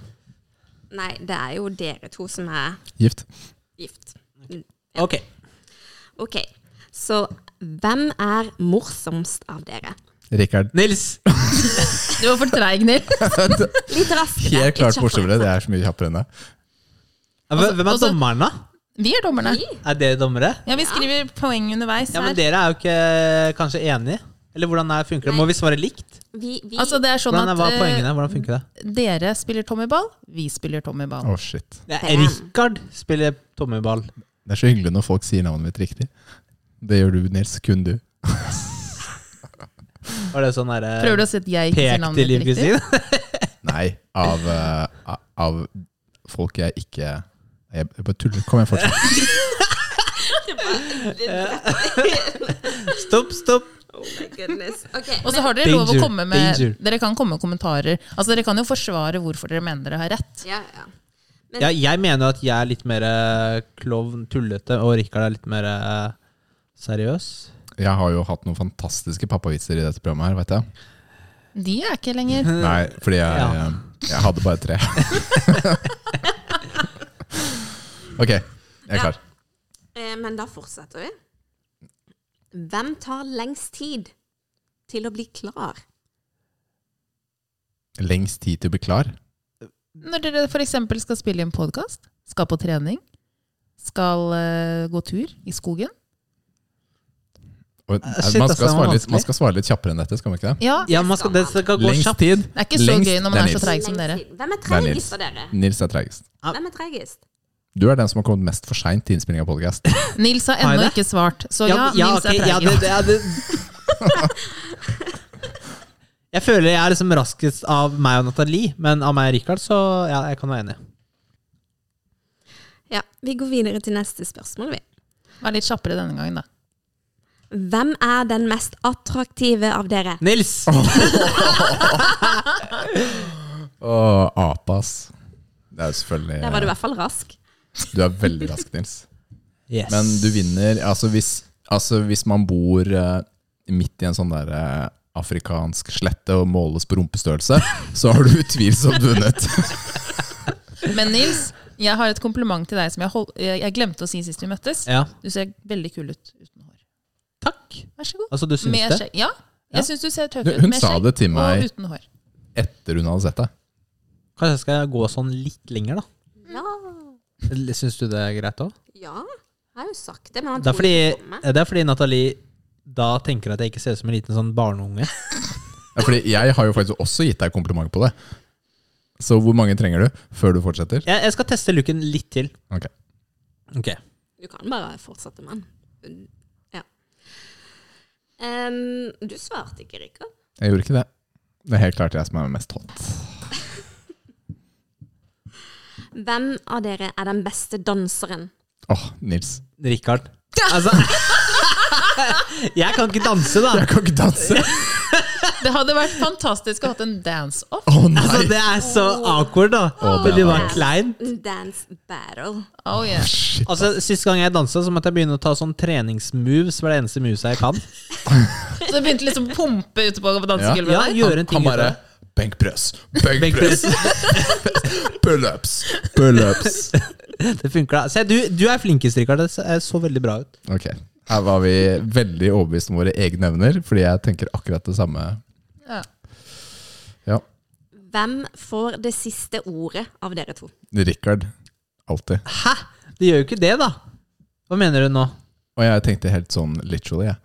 S1: Nei, det er jo dere to som er
S4: Gift.
S1: gift.
S3: Ok.
S1: Ok, så hvem er morsomst av dere?
S4: Rikard.
S3: Nils!
S2: Du var for treig, Nils.
S1: Litt raskere.
S4: Helt
S1: litt
S4: klart
S1: kjappere.
S4: morsommere. Det er så mye kjappere enn det.
S3: Ja, Hvem hvem er
S2: altså-
S3: dommeren, da?
S2: Vi er dommerne.
S3: Er dere dommere?
S2: Ja, vi skriver poeng underveis
S3: Ja, men
S2: her.
S3: Dere er jo ikke eh, kanskje enige? Eller hvordan er, funker det? Må vi svare likt?
S1: Vi, vi,
S2: Altså, det er sånn
S3: Hvordan er,
S2: at
S3: hva er
S2: eh,
S3: poengene? Hvordan funker det?
S2: dere spiller tommyball, vi spiller tommyball.
S4: Å, shit.
S3: det er
S1: Bam.
S3: Rikard spiller tommeball.
S4: Det er så hyggelig når folk sier navnet mitt riktig. Det gjør du, Nils. Kun du.
S3: Var det sånn derre
S2: Prøver du å si at jeg ikke sier
S3: pek til
S2: navnet ditt riktig?
S3: livkusin?
S4: Nei, av, eh, av- av folk jeg ikke Jeg jeg bare tuller. Kom igjen, fortsett.
S3: Stopp, stopp!
S1: Oh my goodness. Ok,
S2: Og
S1: men-
S2: så har dere lov å
S3: Danger,
S2: komme med
S3: danger.
S2: Dere kan komme med kommentarer. Altså Dere kan jo forsvare hvorfor dere mener dere har rett.
S1: ja, ja.
S3: Ja, jeg mener at jeg er litt mer eh, klovn, tullete, og Rikard er litt mer eh, seriøs.
S4: Jeg har jo hatt noen fantastiske pappavitser i dette programmet her, vet jeg.
S2: De er ikke lenger
S4: Nei, fordi jeg,
S3: Ja.
S4: eh, jeg hadde bare tre. ok, jeg er klar.
S1: Eh, Men da fortsetter vi. Hvem tar lengst tid til å bli klar?
S4: Lengst tid til å bli klar.
S2: Når dere f.eks. skal spille inn podkast, skal på trening, skal eh, gå tur i skogen Ah,
S4: Og, eh,
S3: shit,
S4: man,
S3: ass,
S4: skal
S3: den var
S4: svare litt,
S3: vanskelig.
S4: man skal svare litt kjappere enn dette, skal man ikke det?
S2: Ja,
S3: Ja, man skal, det skal gå
S4: Lengst
S3: kjapt.
S4: tid.
S2: Det er ikke så
S4: Lengst,
S2: gøy når man er
S4: Dennis.
S2: så treig som dere.
S1: Lengst tid. Hvem er
S4: Nei, Nils.
S1: tregest av dere?
S4: Nils er treigest.
S1: Hvem er tregest?
S4: Du er den som har kommet mest for seint til innspilling av podkast.
S2: Nils har
S3: Har jeg
S2: ennå
S3: det?
S2: ikke svart, så ja, Nils
S3: ok,
S2: er
S3: ja,
S2: treig.
S3: det, det, ja, det. Jeg føler jeg er liksom raskest av meg og Nathalie, men av meg og Rikard, så ja, jeg kan være enig.
S1: Ja, Vi går videre til neste spørsmål. vi.
S2: Vær litt kjappere denne gangen, da.
S1: Hvem er den mest attraktive av dere?
S3: Nils!
S4: Åh, apas. Det er jo selvfølgelig
S1: Der var du i hvert fall rask.
S4: Du er veldig rask, Nils.
S3: Yes.
S4: Men du vinner Altså hvis, altså hvis man bor eh, midt i en sånn der eh, afrikansk slette og måles på rumpestørrelse, så har du utvilsomt vunnet.
S2: Men Nils, jeg har et kompliment til deg som jeg, hold, jeg jeg glemte å si sist vi møttes.
S3: Ja,
S2: Du ser veldig kul ut uten hår.
S3: takk.
S2: Vær så god.
S3: Altså, du syns
S2: Med
S3: det?
S2: skjegg. Ja,
S3: Ja.
S2: jeg syns du ser tøff ut.
S4: Hun
S2: med
S4: sa
S2: skjegg
S4: det til meg
S2: Og uten hår.
S4: etter hun hadde sett deg.
S3: Kanskje jeg skal gå sånn litt lenger, da?
S1: Ja.
S3: Syns du det er greit òg?
S1: ja. Jeg har jo sagt det, men han
S3: Det er
S1: tror
S3: fordi,
S1: ikke på meg.
S3: det er fordi Nathalie da tenker at jeg ikke ser ut som en liten sånn barneunge.
S4: Ja, fordi jeg har jo faktisk også gitt deg kompliment på det. Så hvor mange trenger du før du fortsetter?
S3: Jeg, jeg skal teste looken litt til.
S4: Ok.
S3: Ok.
S1: Du kan bare fortsette med den. Ja. Em, du svarte ikke, Rikard.
S4: Jeg gjorde ikke det. Det er helt klart jeg som er mest hot.
S1: Hvem av dere er den beste danseren?
S4: Åh, Nils.
S3: Rikard. Altså Jeg kan ikke danse, da!
S4: Jeg kan ikke danse!
S2: Det hadde vært fantastisk å ha hatt en dance-off.
S4: Å nei!
S3: Altså, det er så awkward, da.
S4: Å, det
S3: Fordi det
S4: er
S3: var
S1: awkward.
S3: klein.
S1: Dance battle.
S2: Oh, yeah.
S4: Shit.
S3: Altså, Sist gang jeg dansa, så måtte jeg begynne å ta sånn treningsmoves. Var det eneste moves jeg kan.
S2: Så det begynte liksom å pumpe ute på dansegulvet.
S3: Ja,
S2: der.
S3: gjøre en ting
S4: Han
S3: ut av
S4: bare
S3: det.
S4: Benkpress,
S3: Benkpress.
S4: benkpress, pullups, pullups.
S3: Det funker, da. Se, du, du er flinkest, Rikard. Det så- eh, så veldig bra ut.
S4: Ok, her var vi veldig overbevist om våre egne evner, fordi jeg tenker akkurat det samme.
S2: Ja.
S4: Ja,
S1: Hvem får det siste ordet av dere to?
S4: Rikard, alltid.
S3: Hæ? Det gjør jo ikke det, da. Hva mener du nå?
S4: Og jeg tenkte helt sånn literally, jeg.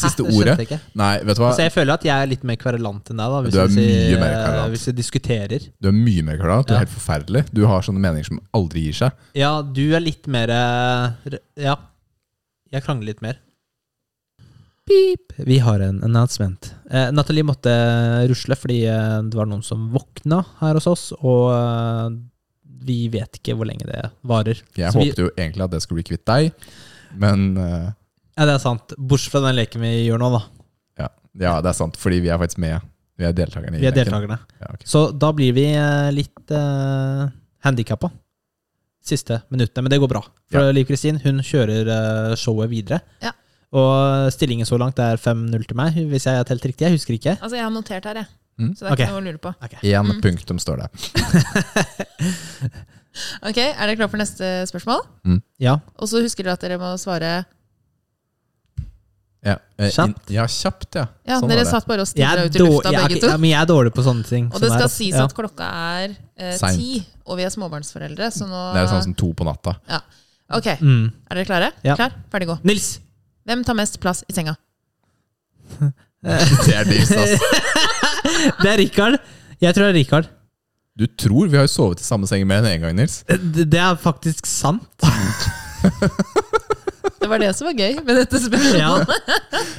S3: Hæ,
S4: Siste
S3: Ah, det skjønte
S4: ordet?
S3: jeg ikke.
S4: Nei, vet du hva?
S3: Altså, jeg føler at jeg er litt mer kverulant enn deg, da. Hvis
S4: Du er
S3: vi sier- eh,
S4: mye mer kverulant.
S3: Hvis vi diskuterer.
S4: Du er mye mer klar, du
S3: Ja.
S4: er helt forferdelig. Du har sånne meninger som aldri gir seg.
S3: Ja, du er litt mer eh, r- Ja. Jeg krangler litt mer. Pip. Vi har en announcement. Eh, Nathalie måtte rusle fordi eh, det var noen som våkna her hos oss, og eh, vi vet ikke hvor lenge det varer.
S4: Jeg
S3: Så vi-
S4: håpet jo egentlig at det skulle bli kvitt deg, men eh,
S3: Ja, det er sant. Bortsett fra den leken vi gjør nå, da.
S4: ja. ja, det er sant, fordi vi er faktisk med. Vi er deltakerne i
S3: Vi er
S4: leken.
S3: deltakerne.
S4: Ja, ok.
S3: Så da blir vi eh, litt uh, handikappa siste minuttene, men det går bra. For Liv Kristin hun kjører eh, showet videre.
S2: Ja.
S3: Og stillingen så langt er 5-0 til meg, hvis jeg har telt riktig. Jeg husker ikke.
S2: Altså, jeg har notert her, jeg.
S4: Mm.
S2: Så det er
S3: Ok.
S2: ikke noe å lure på.
S4: Én punktum står det.
S2: Ok, Er dere klare for neste spørsmål?
S3: Ja,
S2: Og så husker dere at dere må svare
S4: Ja, eh, inn-
S3: Kjapt.
S4: Ja, kjapt, ja.
S2: Ja,
S4: Sånn
S2: dere
S4: var det.
S2: satt bare og
S3: jeg
S2: stirra
S3: er,
S2: ut i
S3: dårlig,
S2: lufta,
S3: jeg, er
S2: begge
S3: ikke, ja,
S2: to.
S3: men jeg er dårlig på sånne ting.
S2: Og det
S3: som er,
S2: skal
S3: altså.
S2: sies
S3: Ja.
S2: at klokka er eh,
S4: Seint.
S2: ti, og vi er småbarnsforeldre, så nå
S4: Det er sånn som to på natta.
S2: ja. Ok,
S3: mm.
S2: er dere klare?
S3: Ja.
S2: Klar, ferdig, gå.
S3: Nils!
S2: Hvem tar mest plass i senga?
S4: Det er dyst, ass.
S3: Det er Rikard. Jeg tror det er Rikard.
S4: Du tror vi har jo sovet i samme seng mer enn én gang, Nils.
S3: Det det er faktisk sant.
S2: Det var det som var gøy med dette spørsmålet.
S3: Ja.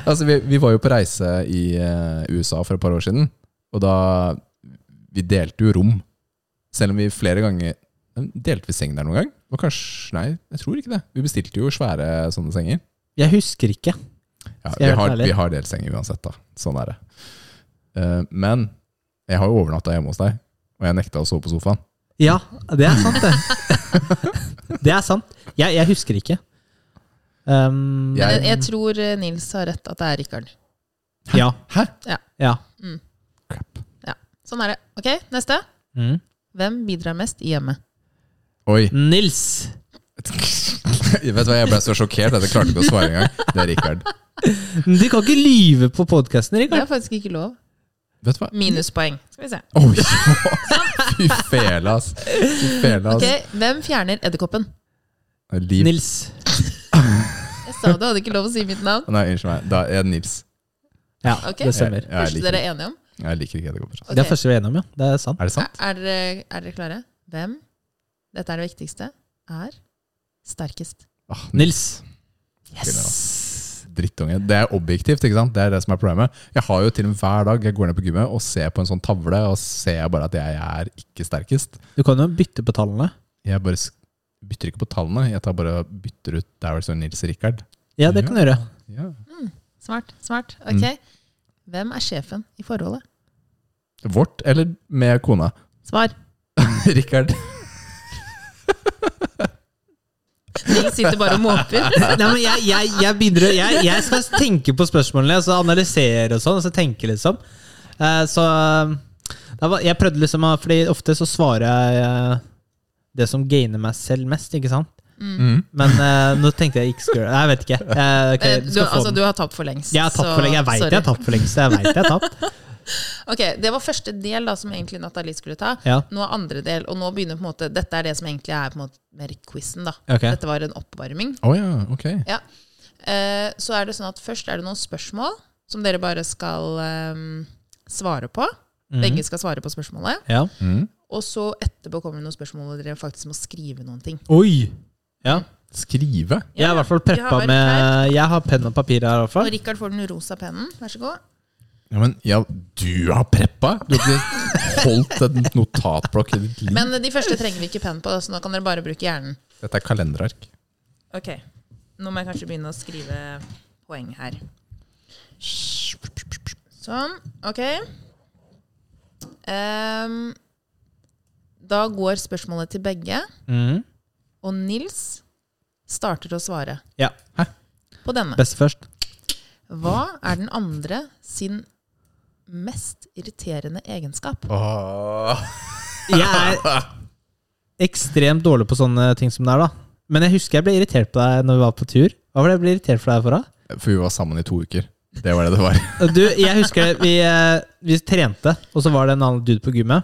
S4: Altså, vi, vi var jo på reise i eh, USA for et par år siden, og da Vi delte jo rom. Selv om vi flere ganger eh, Delte vi seng der noen gang? Det var kanskje, nei, jeg tror ikke det. Vi bestilte jo svære sånne senger.
S3: Jeg husker ikke.
S4: Ja,
S3: Skal
S4: vi,
S3: jeg være
S4: har,
S3: ærlig?
S4: vi har delt senger uansett, da. Sånn er det. Eh, men jeg har jo overnatta hjemme hos deg, og jeg nekta å sove på sofaen.
S3: Ja, det er sant, det. det er sant. Jeg, jeg husker ikke. Um,
S4: Jeg-
S2: Jeg, jeg tror eh, Nils har rett, at det er Rikard.
S3: Ja.
S4: Hæ?
S2: Ja.
S3: ja.
S4: Crap.
S2: Sånn er det. Ok, neste.
S3: Mm.
S2: Hvem bidrar mest i hjemmet?
S4: Oi.
S3: Nils.
S4: Jeg vet hva, Jeg ble så sjokkert at jeg klarte ikke å svare engang. Det er Richard.
S3: Du kan ikke lyve på podkasten,
S2: Det
S3: Rikard.
S2: er faktisk ikke lov.
S4: Vet du hva?
S2: Minuspoeng. Skal vi se.
S4: Oi, fy fele, ass. Fy fele, ass.
S2: Ok,
S3: Altså-
S2: Hvem fjerner edderkoppen?
S4: Liv.
S3: Nils.
S2: Jeg sa du hadde ikke lov å si mitt navn.
S4: Nei, unnskyld meg. Da er det Nils.
S3: Ja,
S2: Ok.
S3: det stemmer.
S4: Jeg, jeg,
S2: Første dere
S4: liker,
S3: sånn
S2: er enige om?
S4: jeg liker ikke edderkopper.
S2: Ok.
S3: Det er første vi er enige om, ja. Det er sant.
S4: Er det sant?
S2: Er, dere- er dere klare? Hvem, dette er det viktigste, er sterkest?
S4: Ah,
S3: Nils.
S4: Yes. Drittunge. Det er objektivt, ikke sant? Det er det som er problemet. Jeg har jo til og med hver dag jeg går ned på gymmet og ser på en sånn tavle, og ser jeg bare at jeg er ikke sterkest.
S3: Du kan jo bytte på tallene.
S4: Jeg bare sk- bytter ikke på tallene, jeg tar bare og bytter ut der hvor det står Nils Rikard.
S3: Ja, det kan du gjøre.
S4: Ja.
S2: Smart, smart. Ok.
S3: Mm.
S2: Hvem er sjefen i forholdet?
S4: Vårt eller med kona?
S2: Svar.
S4: Rikard.
S2: Nils sitter bare og måper.
S3: Nei, men jeg, jeg, jeg begynner å- jeg, jeg skal tenke på spørsmålene og så analysere og sånn. Og så tenke liksom Eh, Så eh, da var, Jeg prøvde liksom å- Fordi ofte så svarer jeg eh, det som gainer meg selv mest, ikke sant?
S4: Mm.
S3: Men eh, nå tenkte jeg ikke skulle Jeg vet ikke. Eh, ok,
S2: Eh,
S3: du
S2: Du,
S3: skal få
S2: altså,
S3: den.
S2: du har tapt for lengst.
S3: jeg har tapt
S2: så-
S3: for lenge. Jeg veit
S2: sorry.
S3: jeg har tapt for lenge. Så jeg vet jeg har tapt.
S2: Ok, Det var første del da, som egentlig Nathalie skulle ta.
S3: Ja.
S2: Nå er andre del, og nå begynner på en måte Dette er det som egentlig er på en måte mer quizen. da.
S3: Ok.
S2: Dette var en oppvarming.
S4: Å ja, ok.
S2: Ja. Eh, så er det sånn at først er det noen spørsmål som dere bare skal eh, svare på. Begge skal svare på spørsmålet.
S3: Ja.
S4: Mm.
S2: Og så etterpå kommer det noen spørsmål hvor dere faktisk må skrive noen ting.
S3: Oi! Ja.
S4: Skrive?
S3: Jeg har i hvert fall
S2: Vi har
S3: preppa
S2: vært
S3: med Jeg har penn og papir her, i hvert
S2: Og
S3: fall.
S2: Rikard får den rosa pennen. Vær så god.
S4: Ja, men ja, du har preppa! Du har ikke holdt et notatblokk i ditt liv.
S2: Men de første trenger vi ikke penn på, så nå kan dere bare bruke hjernen.
S4: Dette er kalenderark.
S2: Ok, Nå må jeg kanskje begynne å skrive poeng her. Sånn. Ok. Ehm, da går spørsmålet til begge,
S3: Mhm.
S2: og Nils starter å svare
S3: Ja.
S2: på denne.
S3: Best først.
S2: Hva er den andre sin mest irriterende egenskap?
S4: Åh.
S3: Jeg er ekstremt dårlig på sånne ting som det er, da. Men jeg husker jeg ble irritert på deg når vi var på tur. Hva var det jeg ble irritert for deg for? da?
S4: For vi var sammen i to uker. Det var det det var.
S3: Du, jeg husker vi, eh, vi trente, og så var det en annen dude på gymmet.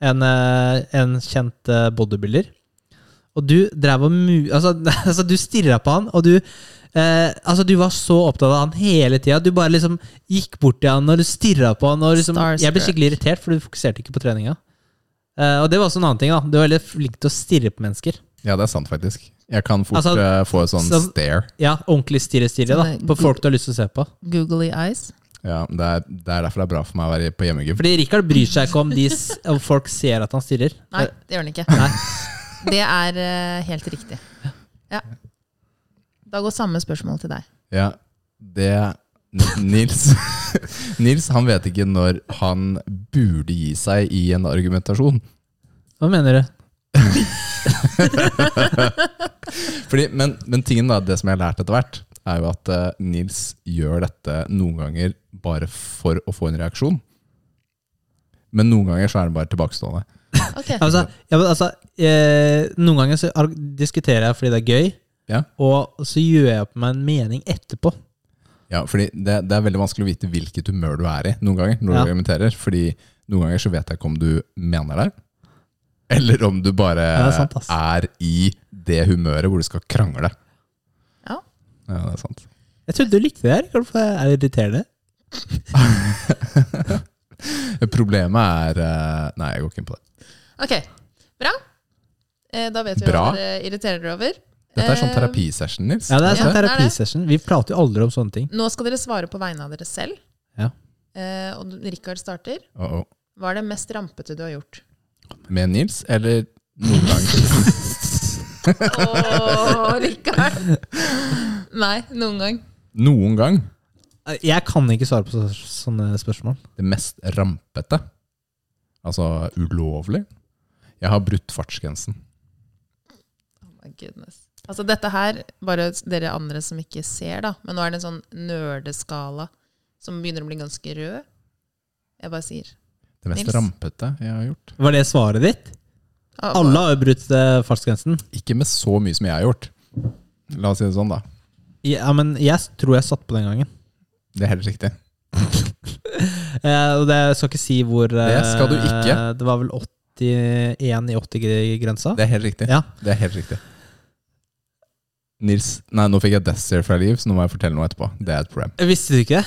S3: En, eh, en kjent eh, bodybuilder. Og du drev og mu... Altså, altså du stirra på han, og du eh, Altså, du var så opptatt av han hele tida. Du bare liksom gikk bort til han, og du stirra på han. Og liksom, jeg ble
S2: Starstruck.
S3: skikkelig irritert, for du fokuserte ikke på treninga. Eh, og det var også en annen ting, da. Du var veldig flink til å stirre på mennesker.
S4: Ja, det er sant, faktisk. Jeg kan fort
S3: Altså,
S4: eh, få et sånn
S3: som-
S4: stare.
S3: Ja, ordentlig stirre-stirre, da.
S2: Sånn, eh,
S3: På folk du har lyst til å se på.
S2: Googly eyes.
S4: Ja, det er, det er derfor det er bra for meg å være på hjemmegym.
S3: Fordi Richard bryr seg ikke om de s om folk ser at han stirrer.
S2: Nei,
S4: Eh,
S2: det gjør den ikke. Det er eh, helt riktig. Ja. Da går samme spørsmål til deg.
S4: Ja, det N- Nils Nils han vet ikke når han burde gi seg i en argumentasjon.
S3: Eh, Hva mener du?
S4: Fordi, men, men tingen da, det som jeg har lært etter hvert, er jo at eh, Nils gjør dette noen ganger bare for å få en reaksjon. Men noen ganger så er han bare tilbakestående.
S2: Ok,
S3: Altså, ja, men altså eh, Noen ganger så arg- diskuterer jeg fordi det er gøy,
S4: Ja.
S3: og så gjør jeg opp meg en mening etterpå.
S4: Ja, fordi det, det er veldig vanskelig å vite hvilket humør du er i noen ganger
S3: Ja.
S4: når du argumenterer. Fordi noen ganger så vet jeg ikke om du mener det, eller om du bare
S3: Ja, det er sant, ass.
S4: er i det humøret hvor du skal krangle.
S2: Ja.
S4: Ja, det er sant.
S3: Jeg trodde du likte det her. Karl, for jeg Er det irriterende?
S4: Problemet er eh, Nei, jeg går ikke inn på det.
S2: Ok, bra. Eh, Da vet vi
S4: Bra.
S2: hva dere irriterer dere over.
S4: Dette er sånn
S2: Eh,
S4: terapisession, Nils.
S3: Ja, det er
S2: Ja,
S3: sånn
S2: det er det.
S3: terapisession. Vi prater jo aldri om sånne ting.
S2: Nå skal dere svare på vegne av dere selv.
S3: Ja.
S2: Eh, Og Rikard starter.
S4: Uh -oh.
S2: Hva er det mest rampete du har gjort?
S4: Med Nils eller noen gang.
S2: Åh, Rikard. Nei, noen gang.
S4: Noen gang
S3: Jeg kan ikke svare på så- sånne spørsmål.
S4: det mest rampete. Altså ulovlig. Jeg har brutt fartsgrensen.
S2: Oh my goodness. Altså dette her, bare dere andre som ikke ser da, men nå er det en sånn nerdeskala som begynner å bli ganske rød. Jeg bare sier.
S4: Det mest
S2: Nils.
S4: rampete jeg har gjort.
S3: Var det svaret ditt?
S2: Ah,
S3: Alle har jo brutt eh, fartsgrensen.
S4: Ikke med så mye som jeg har gjort. La oss si det sånn, da.
S3: Ja, men jeg s- tror jeg satt på den gangen.
S4: Det er helt riktig.
S3: Eh, og det jeg skal ikke si hvor eh,
S4: Det skal du ikke.
S3: Det var vel 81 i 80-grensa?
S4: Det er helt riktig.
S3: Ja.
S4: Det er helt riktig. Nils Nei, nå fikk jeg Desert fra Liv, så nå må jeg fortelle noe etterpå. Det er et problem.
S3: Visste du ikke det?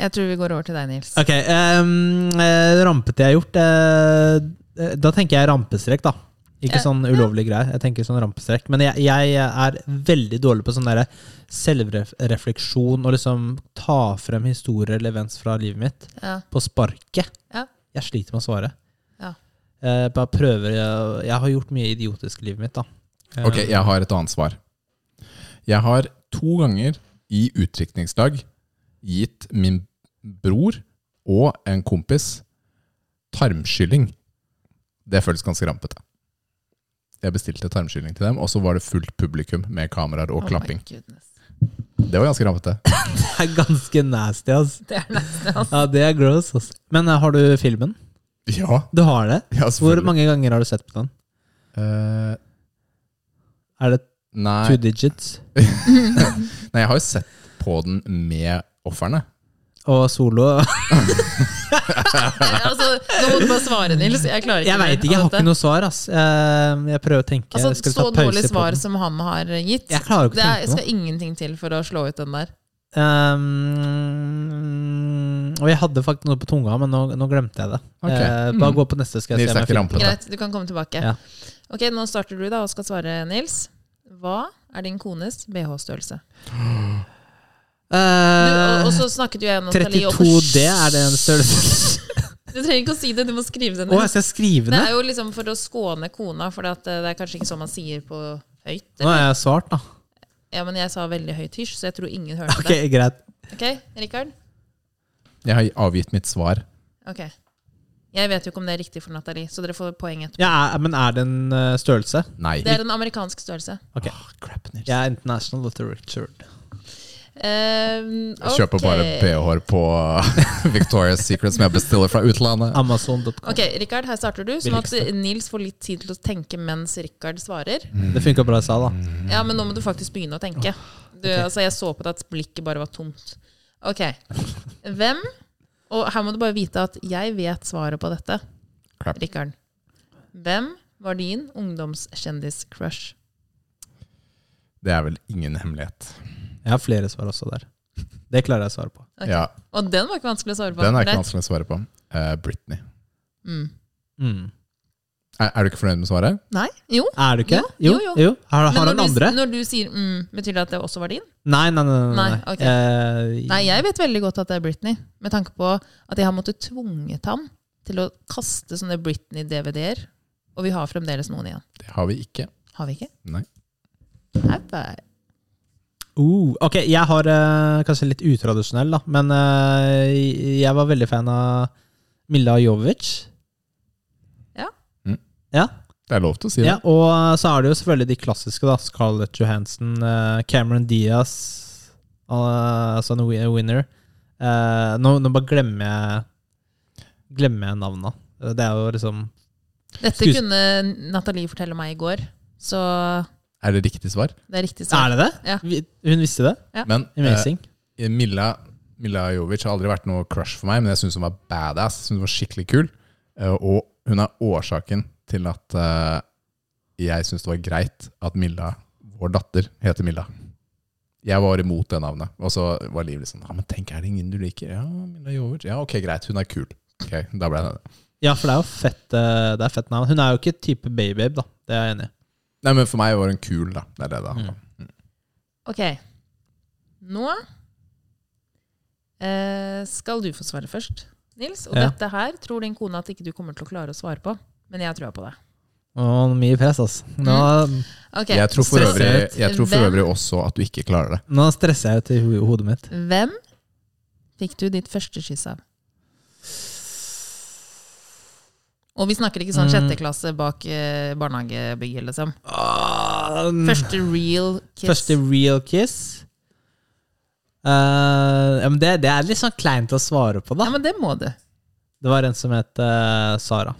S2: Jeg tror vi går over til deg, Nils.
S3: Ok. ehm, eh, rampete jeg har gjort eh, eh, Da tenker jeg rampestrek, da. Ikke
S2: Ja.
S3: sånn ulovlige greier. Jeg tenker sånn rampestrek Men jeg, jeg er veldig dårlig på sånn derre selvrefleksjon og liksom ta frem historier eller events fra livet mitt
S2: Ja.
S3: på sparket.
S2: Ja.
S3: Jeg sliter med å svare.
S2: Ja.
S3: Eh, bare prøver jeg, jeg har gjort mye idiotisk i livet mitt, da. Eh,
S4: Ok, jeg har et annet svar. Jeg har to ganger i utdrikningslag gitt min bror og en kompis tarmskylling. Det føles ganske rampete. Jeg bestilte tarmskylling til dem, og så var det fullt publikum med kameraer og
S2: Oh my
S4: klapping.
S2: goodness.
S4: Det var ganske rampete.
S3: Det er ganske nasty, ass.
S2: Det er nesten altså.
S3: Ja, det er gross, ass. Men eh, har du filmen?
S4: Ja,
S3: Du har det?
S4: ja
S3: Hvor
S4: selvfølgelig.
S3: mange ganger har du sett på den?
S4: Eh,
S3: Er det two
S4: nei.
S3: digits?
S4: nei, jeg har jo sett på den med offerne.
S3: Og solo
S2: altså. Nå må du bare svare, Nils. Jeg klarer ikke
S3: Jeg veit ikke, jeg har ikke noe svar, ass. Eh, Jeg prøver å tenke.
S2: Altså,
S3: skal vi
S2: så
S3: ta
S2: dårlig
S3: pause på
S2: svar
S3: den?
S2: som han har gitt.
S3: Jeg klarer jo ikke
S2: Det
S3: å
S2: er,
S3: tenke på noe.
S2: skal ingenting til for å slå ut den der.
S3: Um, og jeg hadde faktisk noe på tunga, men nå, nå glemte jeg det.
S4: Ok.
S3: Eh, bare
S4: Mm.
S3: gå på neste, skal jeg
S4: Nils
S3: se om
S4: er
S3: jeg finner
S4: ikke
S3: på det.
S4: rampete.
S2: Greit, du kan komme tilbake.
S3: Ja.
S2: Ok, Nå starter du da og skal svare, Nils. Hva er din kones BH-størrelse? Du, og, og
S3: Eh,
S2: så snakket jo jeg og Nathalie om
S3: 32D er det en størrelse
S2: Du trenger ikke å si det, du må skrive det
S3: Å,
S2: ned.
S3: jeg skal skrive
S2: det
S3: ned?
S2: er jo liksom for å skåne kona, for det at, eh, det er kanskje ikke sånn man sier på høyt.
S3: Nå har jeg svart, da.
S2: Ja, men jeg sa veldig høyt hysj, så jeg tror ingen hørte
S3: Ok, Greit.
S2: det. Ok, Rikard?
S4: Jeg har avgitt mitt svar.
S2: Ok. Jeg vet jo ikke om det er riktig for Nathalie, så dere får poeng etterpå.
S3: Ja, er, men er det en eh, størrelse?
S4: Nei.
S2: Det er en amerikansk størrelse.
S3: Ok.
S4: Ah, crap, Nils.
S3: Jeg er international literature.
S2: Um,
S4: Jeg kjøper
S2: ok.
S4: bare BH-er på Victoria's Secret som jeg bestiller fra utlandet.
S3: Amazon.com.
S2: Ok, Rikard, her starter du, sånn at Nils får litt tid til å tenke mens Rikard svarer.
S3: Det funka bra i stad, da.
S4: Mm. Mhm.
S2: Ja, men nå må du faktisk begynne å tenke. Du, altså, jeg så på deg at blikket bare var tomt. Ok. Hvem Og her må du bare vite at jeg vet svaret på dette.
S4: Crap.
S2: Rikard. Hvem var din ungdomskjendis-crush?
S4: Det er vel ingen hemmelighet.
S3: Jeg har flere svar også der. Det klarer jeg å svare på.
S2: Ok.
S4: Ja,
S2: Og den var ikke vanskelig å svare på.
S4: Den er ikke
S2: Greit.
S4: vanskelig å svare på. Eh, Britney.
S2: Mm.
S3: Mm.
S4: Er, er du ikke fornøyd med svaret?
S2: Nei? Jo.
S3: Er du ikke?
S2: Jo, jo, jo.
S3: Har,
S2: Men
S3: har
S2: når
S3: han
S2: du,
S3: andre?
S2: Når du sier mm, betyr det at det også var din?
S3: Nei, nei, nei. nei, nei.
S2: Nei, ok.
S3: Eh,
S2: Nei, jeg vet veldig godt at det er Britney, med tanke på at jeg har måttet tvunget ham til å kaste sånne Britney-DVD-er, og vi har fremdeles noen igjen.
S4: Det har vi ikke.
S2: Har vi ikke?
S4: Nei.
S2: Nei, bare-
S3: Uh, ok, jeg har eh, kanskje litt utradisjonell, da. Men eh, jeg var veldig fan av Milla Jovic.
S4: Det er lov til å si det.
S3: Ja, og eh, så er det jo selvfølgelig de klassiske, da. Scarlett Johansson, eh, Cameron Diaz, eh, altså en wi- winner. Eh, nå, nå bare glemmer jeg Glemmer jeg navna. Eh, Det er jo liksom
S2: Dette
S3: Skues-
S2: kunne Nathalie fortelle meg i går, så
S4: Er det riktig svar?
S2: det er riktig
S3: Er
S2: svar.
S3: det det?
S2: Ja.
S3: Vi, hun visste det?
S2: Ja.
S4: Men eh,
S3: Amazing.
S4: Milla, Milla Jovic har aldri vært noe crush for meg, men jeg syns hun var badass. Jeg synes hun var skikkelig kul. Eh, og hun er årsaken til at eh, jeg syns det var greit at Milla, vår datter, heter Milla. Jeg var imot det navnet. Og så var Liv litt sånn Ja, men tenk, er det ingen du liker? Ja, Milla Jovic. Ja, ok, greit. Hun er kul. Ok, Da ble jeg det.
S3: Ja, for det er jo fett, eh, det er fett navn. Hun er jo ikke type baby-babe, da. Det er jeg enig i.
S4: Nei, men for meg var hun kul, da. Det er det det handler om.
S2: Ok. Nå eh, skal du få svare først. Nils. Og
S3: Ja.
S2: dette her tror din kone at ikke du kommer til å klare å svare på. Men jeg tror på det.
S3: Og mye press, altså. Nå,
S2: Ok,
S4: Jeg tror for
S3: stress
S4: øvrig,
S3: ut.
S4: jeg tror for
S2: Hvem-
S4: øvrig også at du ikke klarer det.
S3: nå stresser jeg ut i ho hodet mitt.
S2: Hvem fikk du ditt første kyss av? Og vi snakker ikke sånn
S3: Mm.
S2: sjette klasse bak eh, barnehagebygget, liksom. Første real kiss.
S3: Ah, Mm. Første real kiss. Eh, ja, men det, det er litt sånn kleint å svare på, da.
S2: Ja, men det må du.
S3: Det var en som het eh, Sara.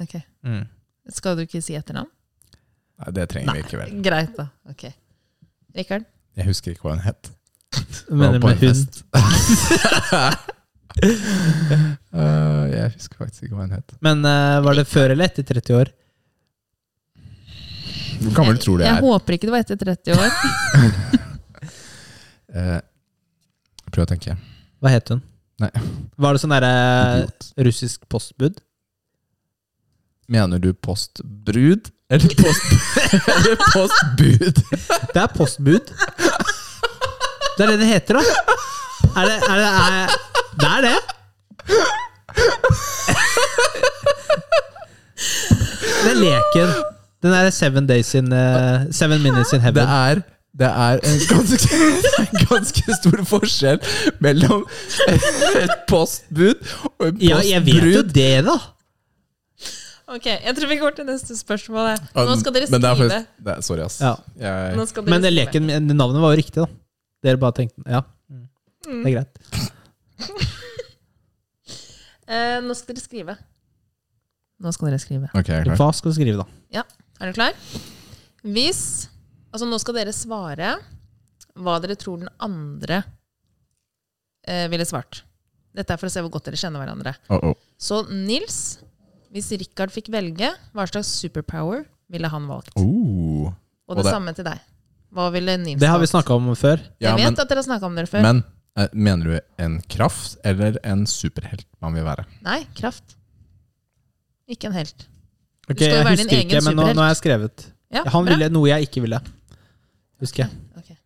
S2: Ok.
S3: Mm.
S2: Skal du ikke si etternavn?
S4: Nei, Det trenger vi ikke vel.
S2: Greit, da. Ok. Rikard?
S4: Jeg husker ikke hva hun het.
S3: Mener du
S4: var på en
S3: med hun?
S4: fest. Eh, jeg husker faktisk ikke hva hun het.
S3: Men eh, var det før eller etter 30 år?
S4: Hvor gammel tror du jeg
S2: jeg
S4: er?
S2: håper ikke det var etter 30 år.
S4: Eh, prøv å tenke.
S3: Hva het hun?
S4: Nei.
S3: Var det sånn derre
S4: Idiot.
S3: russisk postbud?
S4: Mener du postbrud? Eller post, eller postbud?
S3: Det er postbud. Det er det det heter, da. Er det er det, er, det er det. Det er leken. Den derre Seven Days in eh, Seven Minutes in
S4: Det
S3: Heaven.
S4: er, det er en ganske, en ganske stor forskjell mellom et postbud og en postbrud.
S3: Ja, jeg vet jo det, da.
S2: ok, jeg tror vi går til neste spørsmål. jeg.
S4: Ja,
S2: Nå skal dere
S4: men det er
S2: skrive.
S4: faktisk- det er- Sorry, ass.
S3: Ja.
S4: Jeg,
S2: Nå skal dere
S3: Men det
S2: skrive.
S3: leken, det navnet var jo riktig, da. Dere bare tenkte Ja, det er greit.
S2: Eh, nå skal dere skrive. Nå skal dere skrive.
S4: ok, jeg er klar.
S3: Hva skal du skrive, da?
S2: Er du klar? Hvis Altså, nå skal dere svare hva dere tror den andre eh, ville svart. Dette er for å se hvor godt dere kjenner hverandre.
S4: Oh, oh.
S2: Så Nils, hvis Richard fikk velge, hva slags superpower ville han valgt? Og
S4: Oh.
S2: det,
S4: og det-
S2: samme til deg. Hva ville Nils
S3: Det har vi
S2: valgt?
S3: snakka om før.
S4: Ja,
S2: Jeg vet
S4: men,
S2: at dere har snakka om dere før.
S4: men eh, mener du en kraft eller en superhelt man vil være?
S2: Nei, kraft. Ikke en helt.
S3: Ok,
S2: skal jo
S3: jeg
S2: være din
S3: husker
S2: egen
S3: ikke, men nå,
S2: superhelt.
S3: nå har jeg skrevet.
S2: Ja,
S3: Han
S2: bra.
S3: ville noe jeg ikke ville. Husker jeg.
S2: Ok.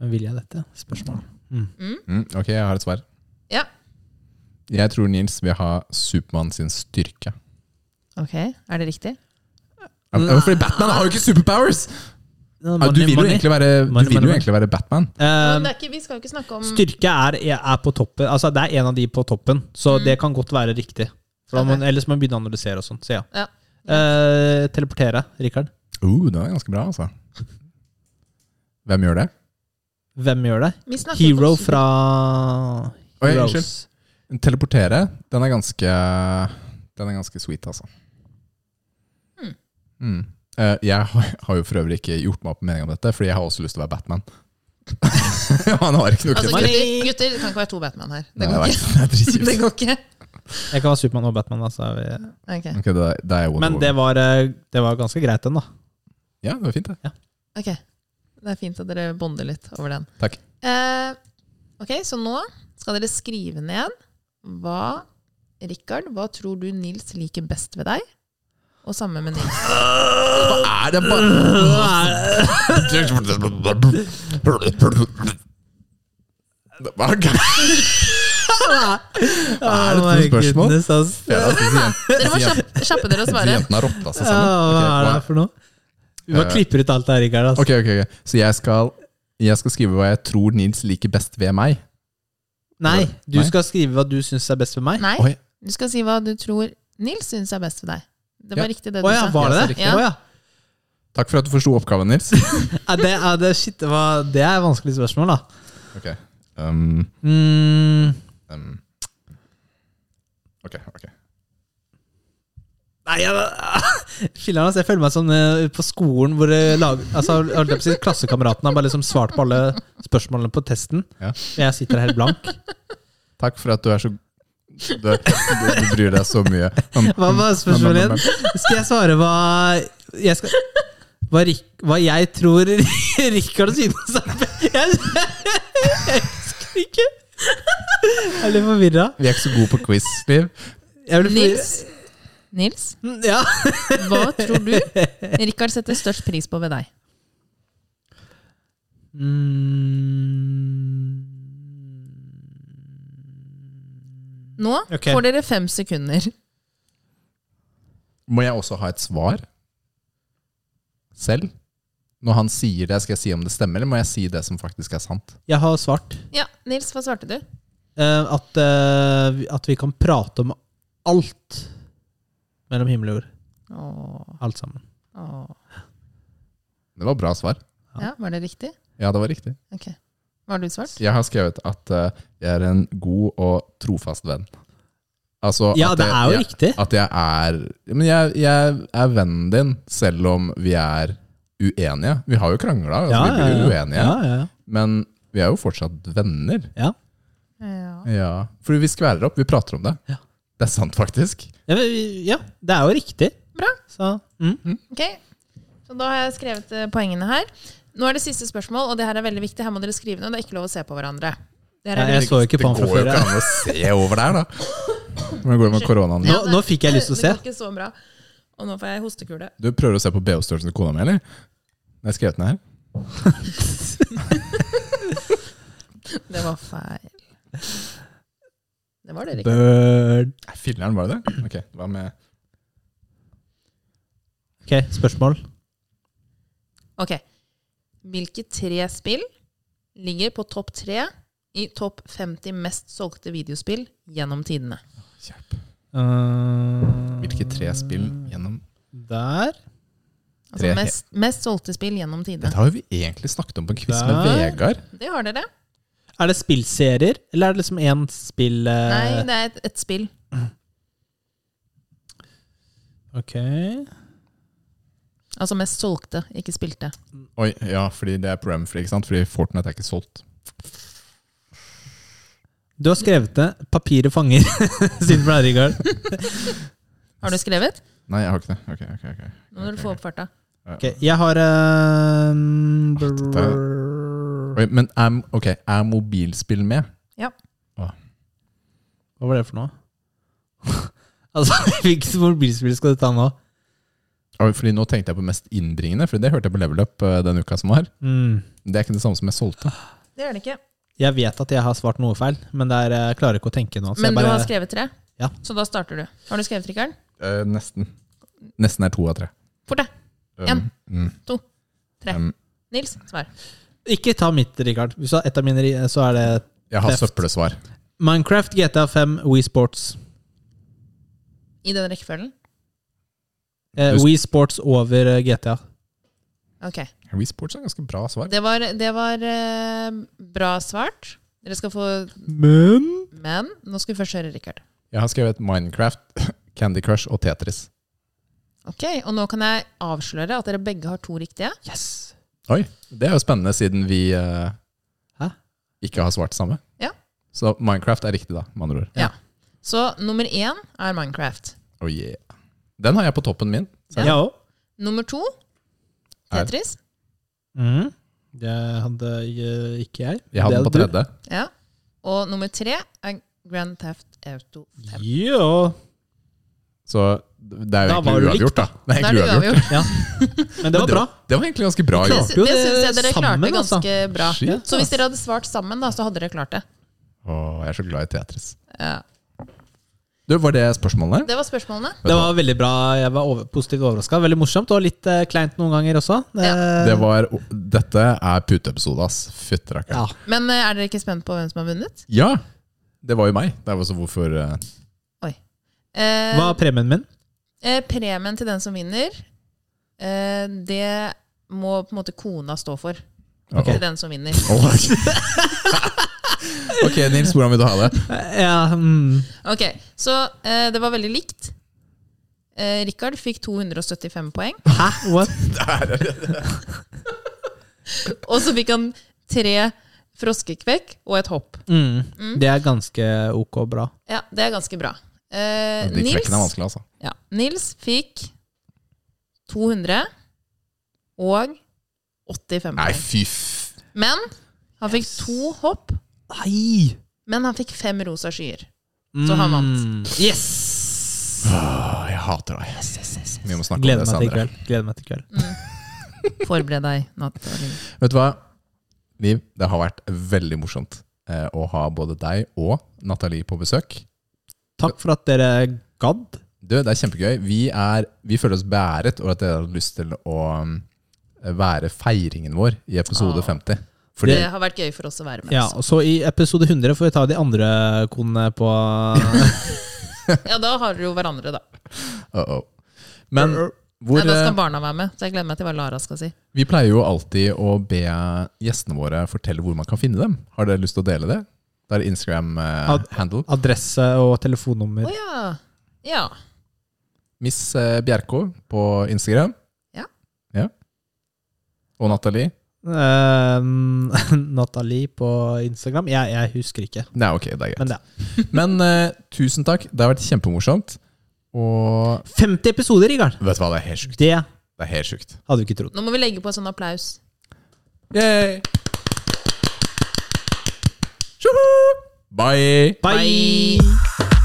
S3: Men vil jeg dette? Spørsmål.
S4: Mm, ok, jeg har et svar.
S2: Ja.
S4: Jeg tror Nils vil ha Supermann sin styrke.
S2: ok, Er det riktig?
S4: Ja, men- Fordi Batman har jo ikke superpowers! Ja, du vil jo egentlig være, du
S3: Money,
S4: vil
S3: money,
S4: jo egentlig være Batman.
S2: Men
S3: Eh,
S2: det er ikke, vi skal jo ikke snakke om
S3: styrke er, er på toppen. Altså, det er en av de på toppen, så
S2: Mm.
S3: det kan godt være riktig. For da må,
S2: Ok.
S3: ellers må man begynne å analysere og sånn. Så ja.
S2: Ja.
S3: Eh, teleportere, Rikard.
S4: Oh, det var ganske bra, altså. Hvem gjør det?
S3: Hvem gjør det?
S2: Vi snakker ikke om
S3: Hero
S2: super-
S3: fra
S4: Oi,
S3: Heroes.
S4: Teleportere, den er ganske Den er ganske sweet, altså.
S2: Hmm.
S4: Mm. Eh, jeg har, har jo for øvrig ikke gjort meg opp en mening om dette, fordi jeg har også lyst til å være Batman. Han har ikke noe
S2: Altså,
S4: krefter.
S2: gutter, gutter, det kan ikke være to Batman her. Det
S4: Nei,
S2: går
S4: jeg
S2: ikke.
S4: vet, det er dritkjipt.
S2: Det går ikke.
S3: Jeg kan være Supermann og Batman. da, så er vi-
S2: Ok.
S4: Ok, da, da er jeg Wonder
S3: Men det
S4: Woman.
S3: var, eh, det var ganske greit, den, da.
S4: Ja, det var fint, det.
S2: ok. Det er fint at dere bonder litt over den.
S4: Takk.
S2: Eh, ok, så nå skal dere skrive ned hva Rikard, hva tror du Nils liker best ved deg? Og samme med Nils.
S4: Hva er det bare Hva er det? er det for noe spørsmål?
S2: Dere må kjappe, kjappe dere å svare.
S4: Jentene har rotta seg
S3: hva er det
S4: sammen.
S3: her for noe? Vi bare
S4: Eh.
S3: klipper ut alt det her, Rikard. Altså.
S4: Ok, ok, ok. Så jeg skal, jeg skal skrive hva jeg tror Nils liker best ved meg.
S3: Nei, du
S4: Nei.
S3: skal skrive hva du syns er best for meg.
S2: Nei,
S4: Oi.
S2: du skal si hva du tror Nils syns er best ved deg. Det var
S4: Ja.
S2: riktig, det
S3: Å
S2: du sa.
S3: ja, var det det?
S2: Ja.
S3: Å ja.
S4: Takk for at du forsto oppgaven, Nils.
S3: Er det, er det, shit, det, var, det er et vanskelig spørsmål, da.
S4: Ok. Um,
S3: Mm,
S4: um. Ok, ok.
S3: nei, jeg, Filler'n, altså, jeg føler meg som eh, på skolen hvor eh, lag, altså, holdt jeg på å si, klassekameratene har bare liksom svart på alle spørsmålene på testen.
S4: Ja.
S3: Og jeg sitter helt blank.
S4: Takk for at du er så du, du, du bryr deg så mye. om-
S3: Hva var spørsmålet igjen? Skal jeg svare hva jeg skal hva, Rik, hva jeg tror Rikard synes er best Jeg, jeg husker ikke! Jeg er litt forvirra.
S4: Vi er ikke så gode på quiz, Liv.
S3: Jeg ble forvirra.
S2: Nils, Nils,
S3: Ja.
S2: hva tror du Rikard setter størst pris på ved deg?
S3: Mm.
S2: Nå
S3: Ok.
S2: får dere fem sekunder.
S4: Må jeg også ha et svar selv? Når han sier det, skal jeg si om det stemmer, eller må jeg si det som faktisk er sant?
S3: Jeg har svart
S2: Ja, Nils, hva svarte du?
S3: eh, at, eh, vi- at vi kan prate om alt mellom himmel og jord.
S2: Åh,
S3: Alt sammen.
S2: åh.
S4: Det var bra svar.
S2: Ja, var det riktig?
S4: Ja, det var riktig.
S2: Ok. Hva har du svart?
S4: Jeg har skrevet at eh, jeg er en god og trofast venn. Altså,
S3: Ja,
S4: at
S3: det
S4: jeg-
S3: er jo
S4: jeg,
S3: riktig.
S4: At jeg er Men jeg, jeg er vennen din, selv om vi er uenige. Vi har jo krangla, altså, vi blir jo uenige,
S3: Ja, ja, ja.
S4: men vi er jo fortsatt venner.
S2: Eh, Ja.
S4: Ja, Fordi vi skværer opp, vi prater om det.
S3: Ja.
S4: Det er sant, faktisk.
S3: Ja, men- ja, det er jo riktig.
S2: Bra.
S3: Så, mm.
S2: Ok, så da har jeg skrevet eh, poengene her. Nå er det siste spørsmål, og det her er veldig viktig. Her må dere skrive ned. Det er ikke lov å se på hverandre. Det her
S3: Nei,
S2: er veldig
S3: jeg så ikke på han
S4: det
S3: fra
S4: går jo
S3: før.
S4: ikke
S3: jeg.
S4: an å se over der, da. Hvordan går det med koronaen?
S3: Nå, nå fikk jeg lyst til å
S2: Det
S3: se.
S2: går ikke så bra. Og nå får jeg hostekule.
S4: Du prøver å se på BH-størrelsen til kona mi, eller? Jeg har skrevet den her.
S2: Det var feil. Det var det ikke.
S3: Bird.
S4: Nei, Filler'n, var det det? Ok, hva med
S3: Ok, spørsmål.
S2: Ok. Hvilke tre spill ligger på topp tre i topp 50 mest solgte videospill gjennom tidene?
S4: Kjerp.
S3: Eh,
S4: Hvilke tre spill gjennom
S3: Der.
S2: Altså
S4: Tre.
S2: mest, mest solgte spill gjennom tidene.
S4: Dette har jo vi egentlig snakket om på en quiz med
S3: Der.
S4: Vegard.
S2: Det har dere.
S3: Er det spillserier, eller er det liksom én spill eh,
S2: Nei, det er et, et spill.
S3: Ok.
S2: Altså mest solgte, ikke spilte.
S4: Oi, ja, fordi det er programfri, ikke sant? Fordi Fortnite er ikke solgt.
S3: Du har skrevet det. 'Papiret fanger' siden fra Rigard.
S2: Har du skrevet?
S4: Nei, jeg har ikke det. Ok, ok, ok.
S2: Nå må du få opp farta.
S3: Ok, jeg har eh,
S4: dette Oi, men er, ok, er mobilspill med?
S3: Hva var det for noe? altså, hvilket mobilspill skal du ta nå?
S4: Oi, Fordi nå tenkte jeg på mest innbringende, for det hørte jeg på Level Up eh, den uka som var.
S3: Mm.
S4: Det er ikke det samme som jeg solgte.
S2: Det er det ikke.
S3: Jeg vet at jeg har svart noe feil, men det er, eh, jeg klarer ikke å tenke nå. Så
S2: Men
S3: Altså, jeg bare,
S2: du har skrevet tre?
S3: Ja.
S2: Så da starter du. Har du skrevet, Rikard?
S4: Eh, nesten. Nesten er to av tre.
S2: Fort deg.
S4: Um,
S2: En.
S4: Mm,
S2: To. Tre.
S4: Um,
S2: Nils, svar.
S3: Ikke ta mitt, Richard. Hvis du har ett av mine, så er det
S4: jeg har
S3: Left.
S4: søppelsvar.
S3: Minecraft, GTA5, Wii Sports.
S2: I den rekkefølgen?
S3: Eh,
S4: Du-
S3: Wii Sports over eh, GTA.
S2: Ok.
S4: Wii Sports er ganske bra svar.
S2: Det var, det var eh, bra svart. Dere skal få
S3: Men
S2: Men nå skal vi først høre Rikard.
S4: Jeg har skrevet Minecraft, Candy Crush og Tetris.
S2: Ok, og nå kan jeg avsløre at dere begge har to riktige.
S3: Yes!
S4: Oi, det er jo spennende siden vi eh,
S3: Hæ?
S4: ikke har svart samme.
S2: Ja.
S4: Så Minecraft er riktig, da, med andre ord.
S2: Ja. Så nummer én er Minecraft.
S4: Oh, yeah. Den har jeg på toppen min.
S2: Ja.
S3: Jeg òg.
S2: Nummer to
S4: Er-
S2: Tetris.
S3: Mm. Det hadde eh, ikke jeg.
S4: Jeg hadde den på tredje.
S2: Ja. Og nummer tre er Grand Theft Auto 5.
S3: Jo.
S4: Så det er jo
S3: Da var du
S4: egentlig
S3: likt,
S4: uavgjort, da. Det er
S2: Da er
S4: egentlig
S2: det
S4: uavgjort.
S2: uavgjort.
S3: Ja. Men det var bra.
S4: Det var egentlig ganske bra
S2: Det,
S4: gjort.
S2: sy-
S3: jo
S2: det syns jeg
S3: det
S2: dere
S3: sammen,
S2: klarte
S3: altså.
S2: ganske bra.
S4: Shit,
S2: Så hvis dere hadde svart sammen, da, så hadde dere klart det.
S4: Å, jeg er så glad i Tetris.
S2: Ja.
S4: Du, Var det spørsmålene?
S2: Det var spørsmålene.
S4: Vet du
S3: Det
S4: hva?
S3: var veldig bra. Jeg var over, positivt overraska. Veldig morsomt og litt eh, kleint noen ganger også. Eh, Det,
S4: Det var, dette er puteepisode, ass. Fytterakker.
S3: ja.
S2: Men eh, er dere ikke spent på hvem som har vunnet?
S4: Ja. Det var jo meg. Det er jo så hvorfor eh,
S2: Eh,
S3: Hva er premien min?
S2: eh, premien til den som vinner, eh, det må på en måte kona stå for.
S4: Ok.
S2: Til den som vinner.
S4: Åh, ok. ok, Nils, hvordan vil du ha det?
S3: Eh, Ja, mm.
S2: Ok, Så eh, det var veldig likt. Eh, Rikard fikk 275 poeng,
S3: Hæ? What?
S2: og så fikk han tre froskekvekk og et hopp.
S3: Mm.
S2: Mm.
S3: Det er ganske ok og bra.
S2: Ja, Det er ganske bra. Eh,
S4: De trekkene er
S2: Nils,
S4: vanskelig, altså.
S2: ja, Nils fikk 200 og 85
S4: Nei,
S2: poeng.
S4: fy f...
S2: Men han fikk to hopp,
S3: Nei!
S2: men han fikk fem rosa skyer.
S3: Mm.
S2: Så han vant.
S3: Yes!
S4: Åh, jeg hater deg. Vi må snakke om
S3: Gleder
S4: det
S3: meg til i
S4: senere.
S3: kveld. Gleder meg til i kveld.
S2: Mm. Forbered deg, Nathalie.
S4: Vet du hva, Liv? Det har vært veldig morsomt eh, å ha både deg og Nathalie på besøk.
S3: Takk for at dere gadd.
S4: Du, det er kjempegøy. Vi, er, vi føler oss bæret over at dere har lyst til å um, være feiringen vår i episode
S2: Ah.
S4: 50.
S2: Det,
S4: Fordi
S2: har vært gøy for oss å være med.
S3: Ja,
S2: altså.
S3: og så I episode 100 får vi ta de andre konene på
S2: ja, da har dere jo hverandre, da.
S4: uh-oh. Men hvor,
S2: Nei, da
S4: eh,
S2: skal barna være med, så jeg gleder meg til hva Lara skal si.
S4: vi pleier jo alltid å be gjestene våre fortelle hvor man kan finne dem. Har dere lyst til å dele det? Det er eh,
S3: Ad-
S4: Instagram-handle.
S3: adresse og telefonnummer.
S2: Å ja. Ja.
S4: Miss eh, Bjerkå på Instagram.
S2: Ja.
S4: Ja. Og Nathalie.
S3: Eh, Nathalie på Instagram. Jeg, jeg husker ikke,
S4: Nei, ok, det er greit.
S3: men det.
S4: Men eh, tusen takk. Det har vært kjempemorsomt. Og
S3: 50 episoder, Rigard!
S4: vet du hva, det er helt sjukt.
S3: Det
S4: Det er helt sjukt.
S3: hadde vi ikke trodd.
S2: Nå må vi legge på en sånn applaus.
S4: Bye!
S3: Bye.
S2: Bye.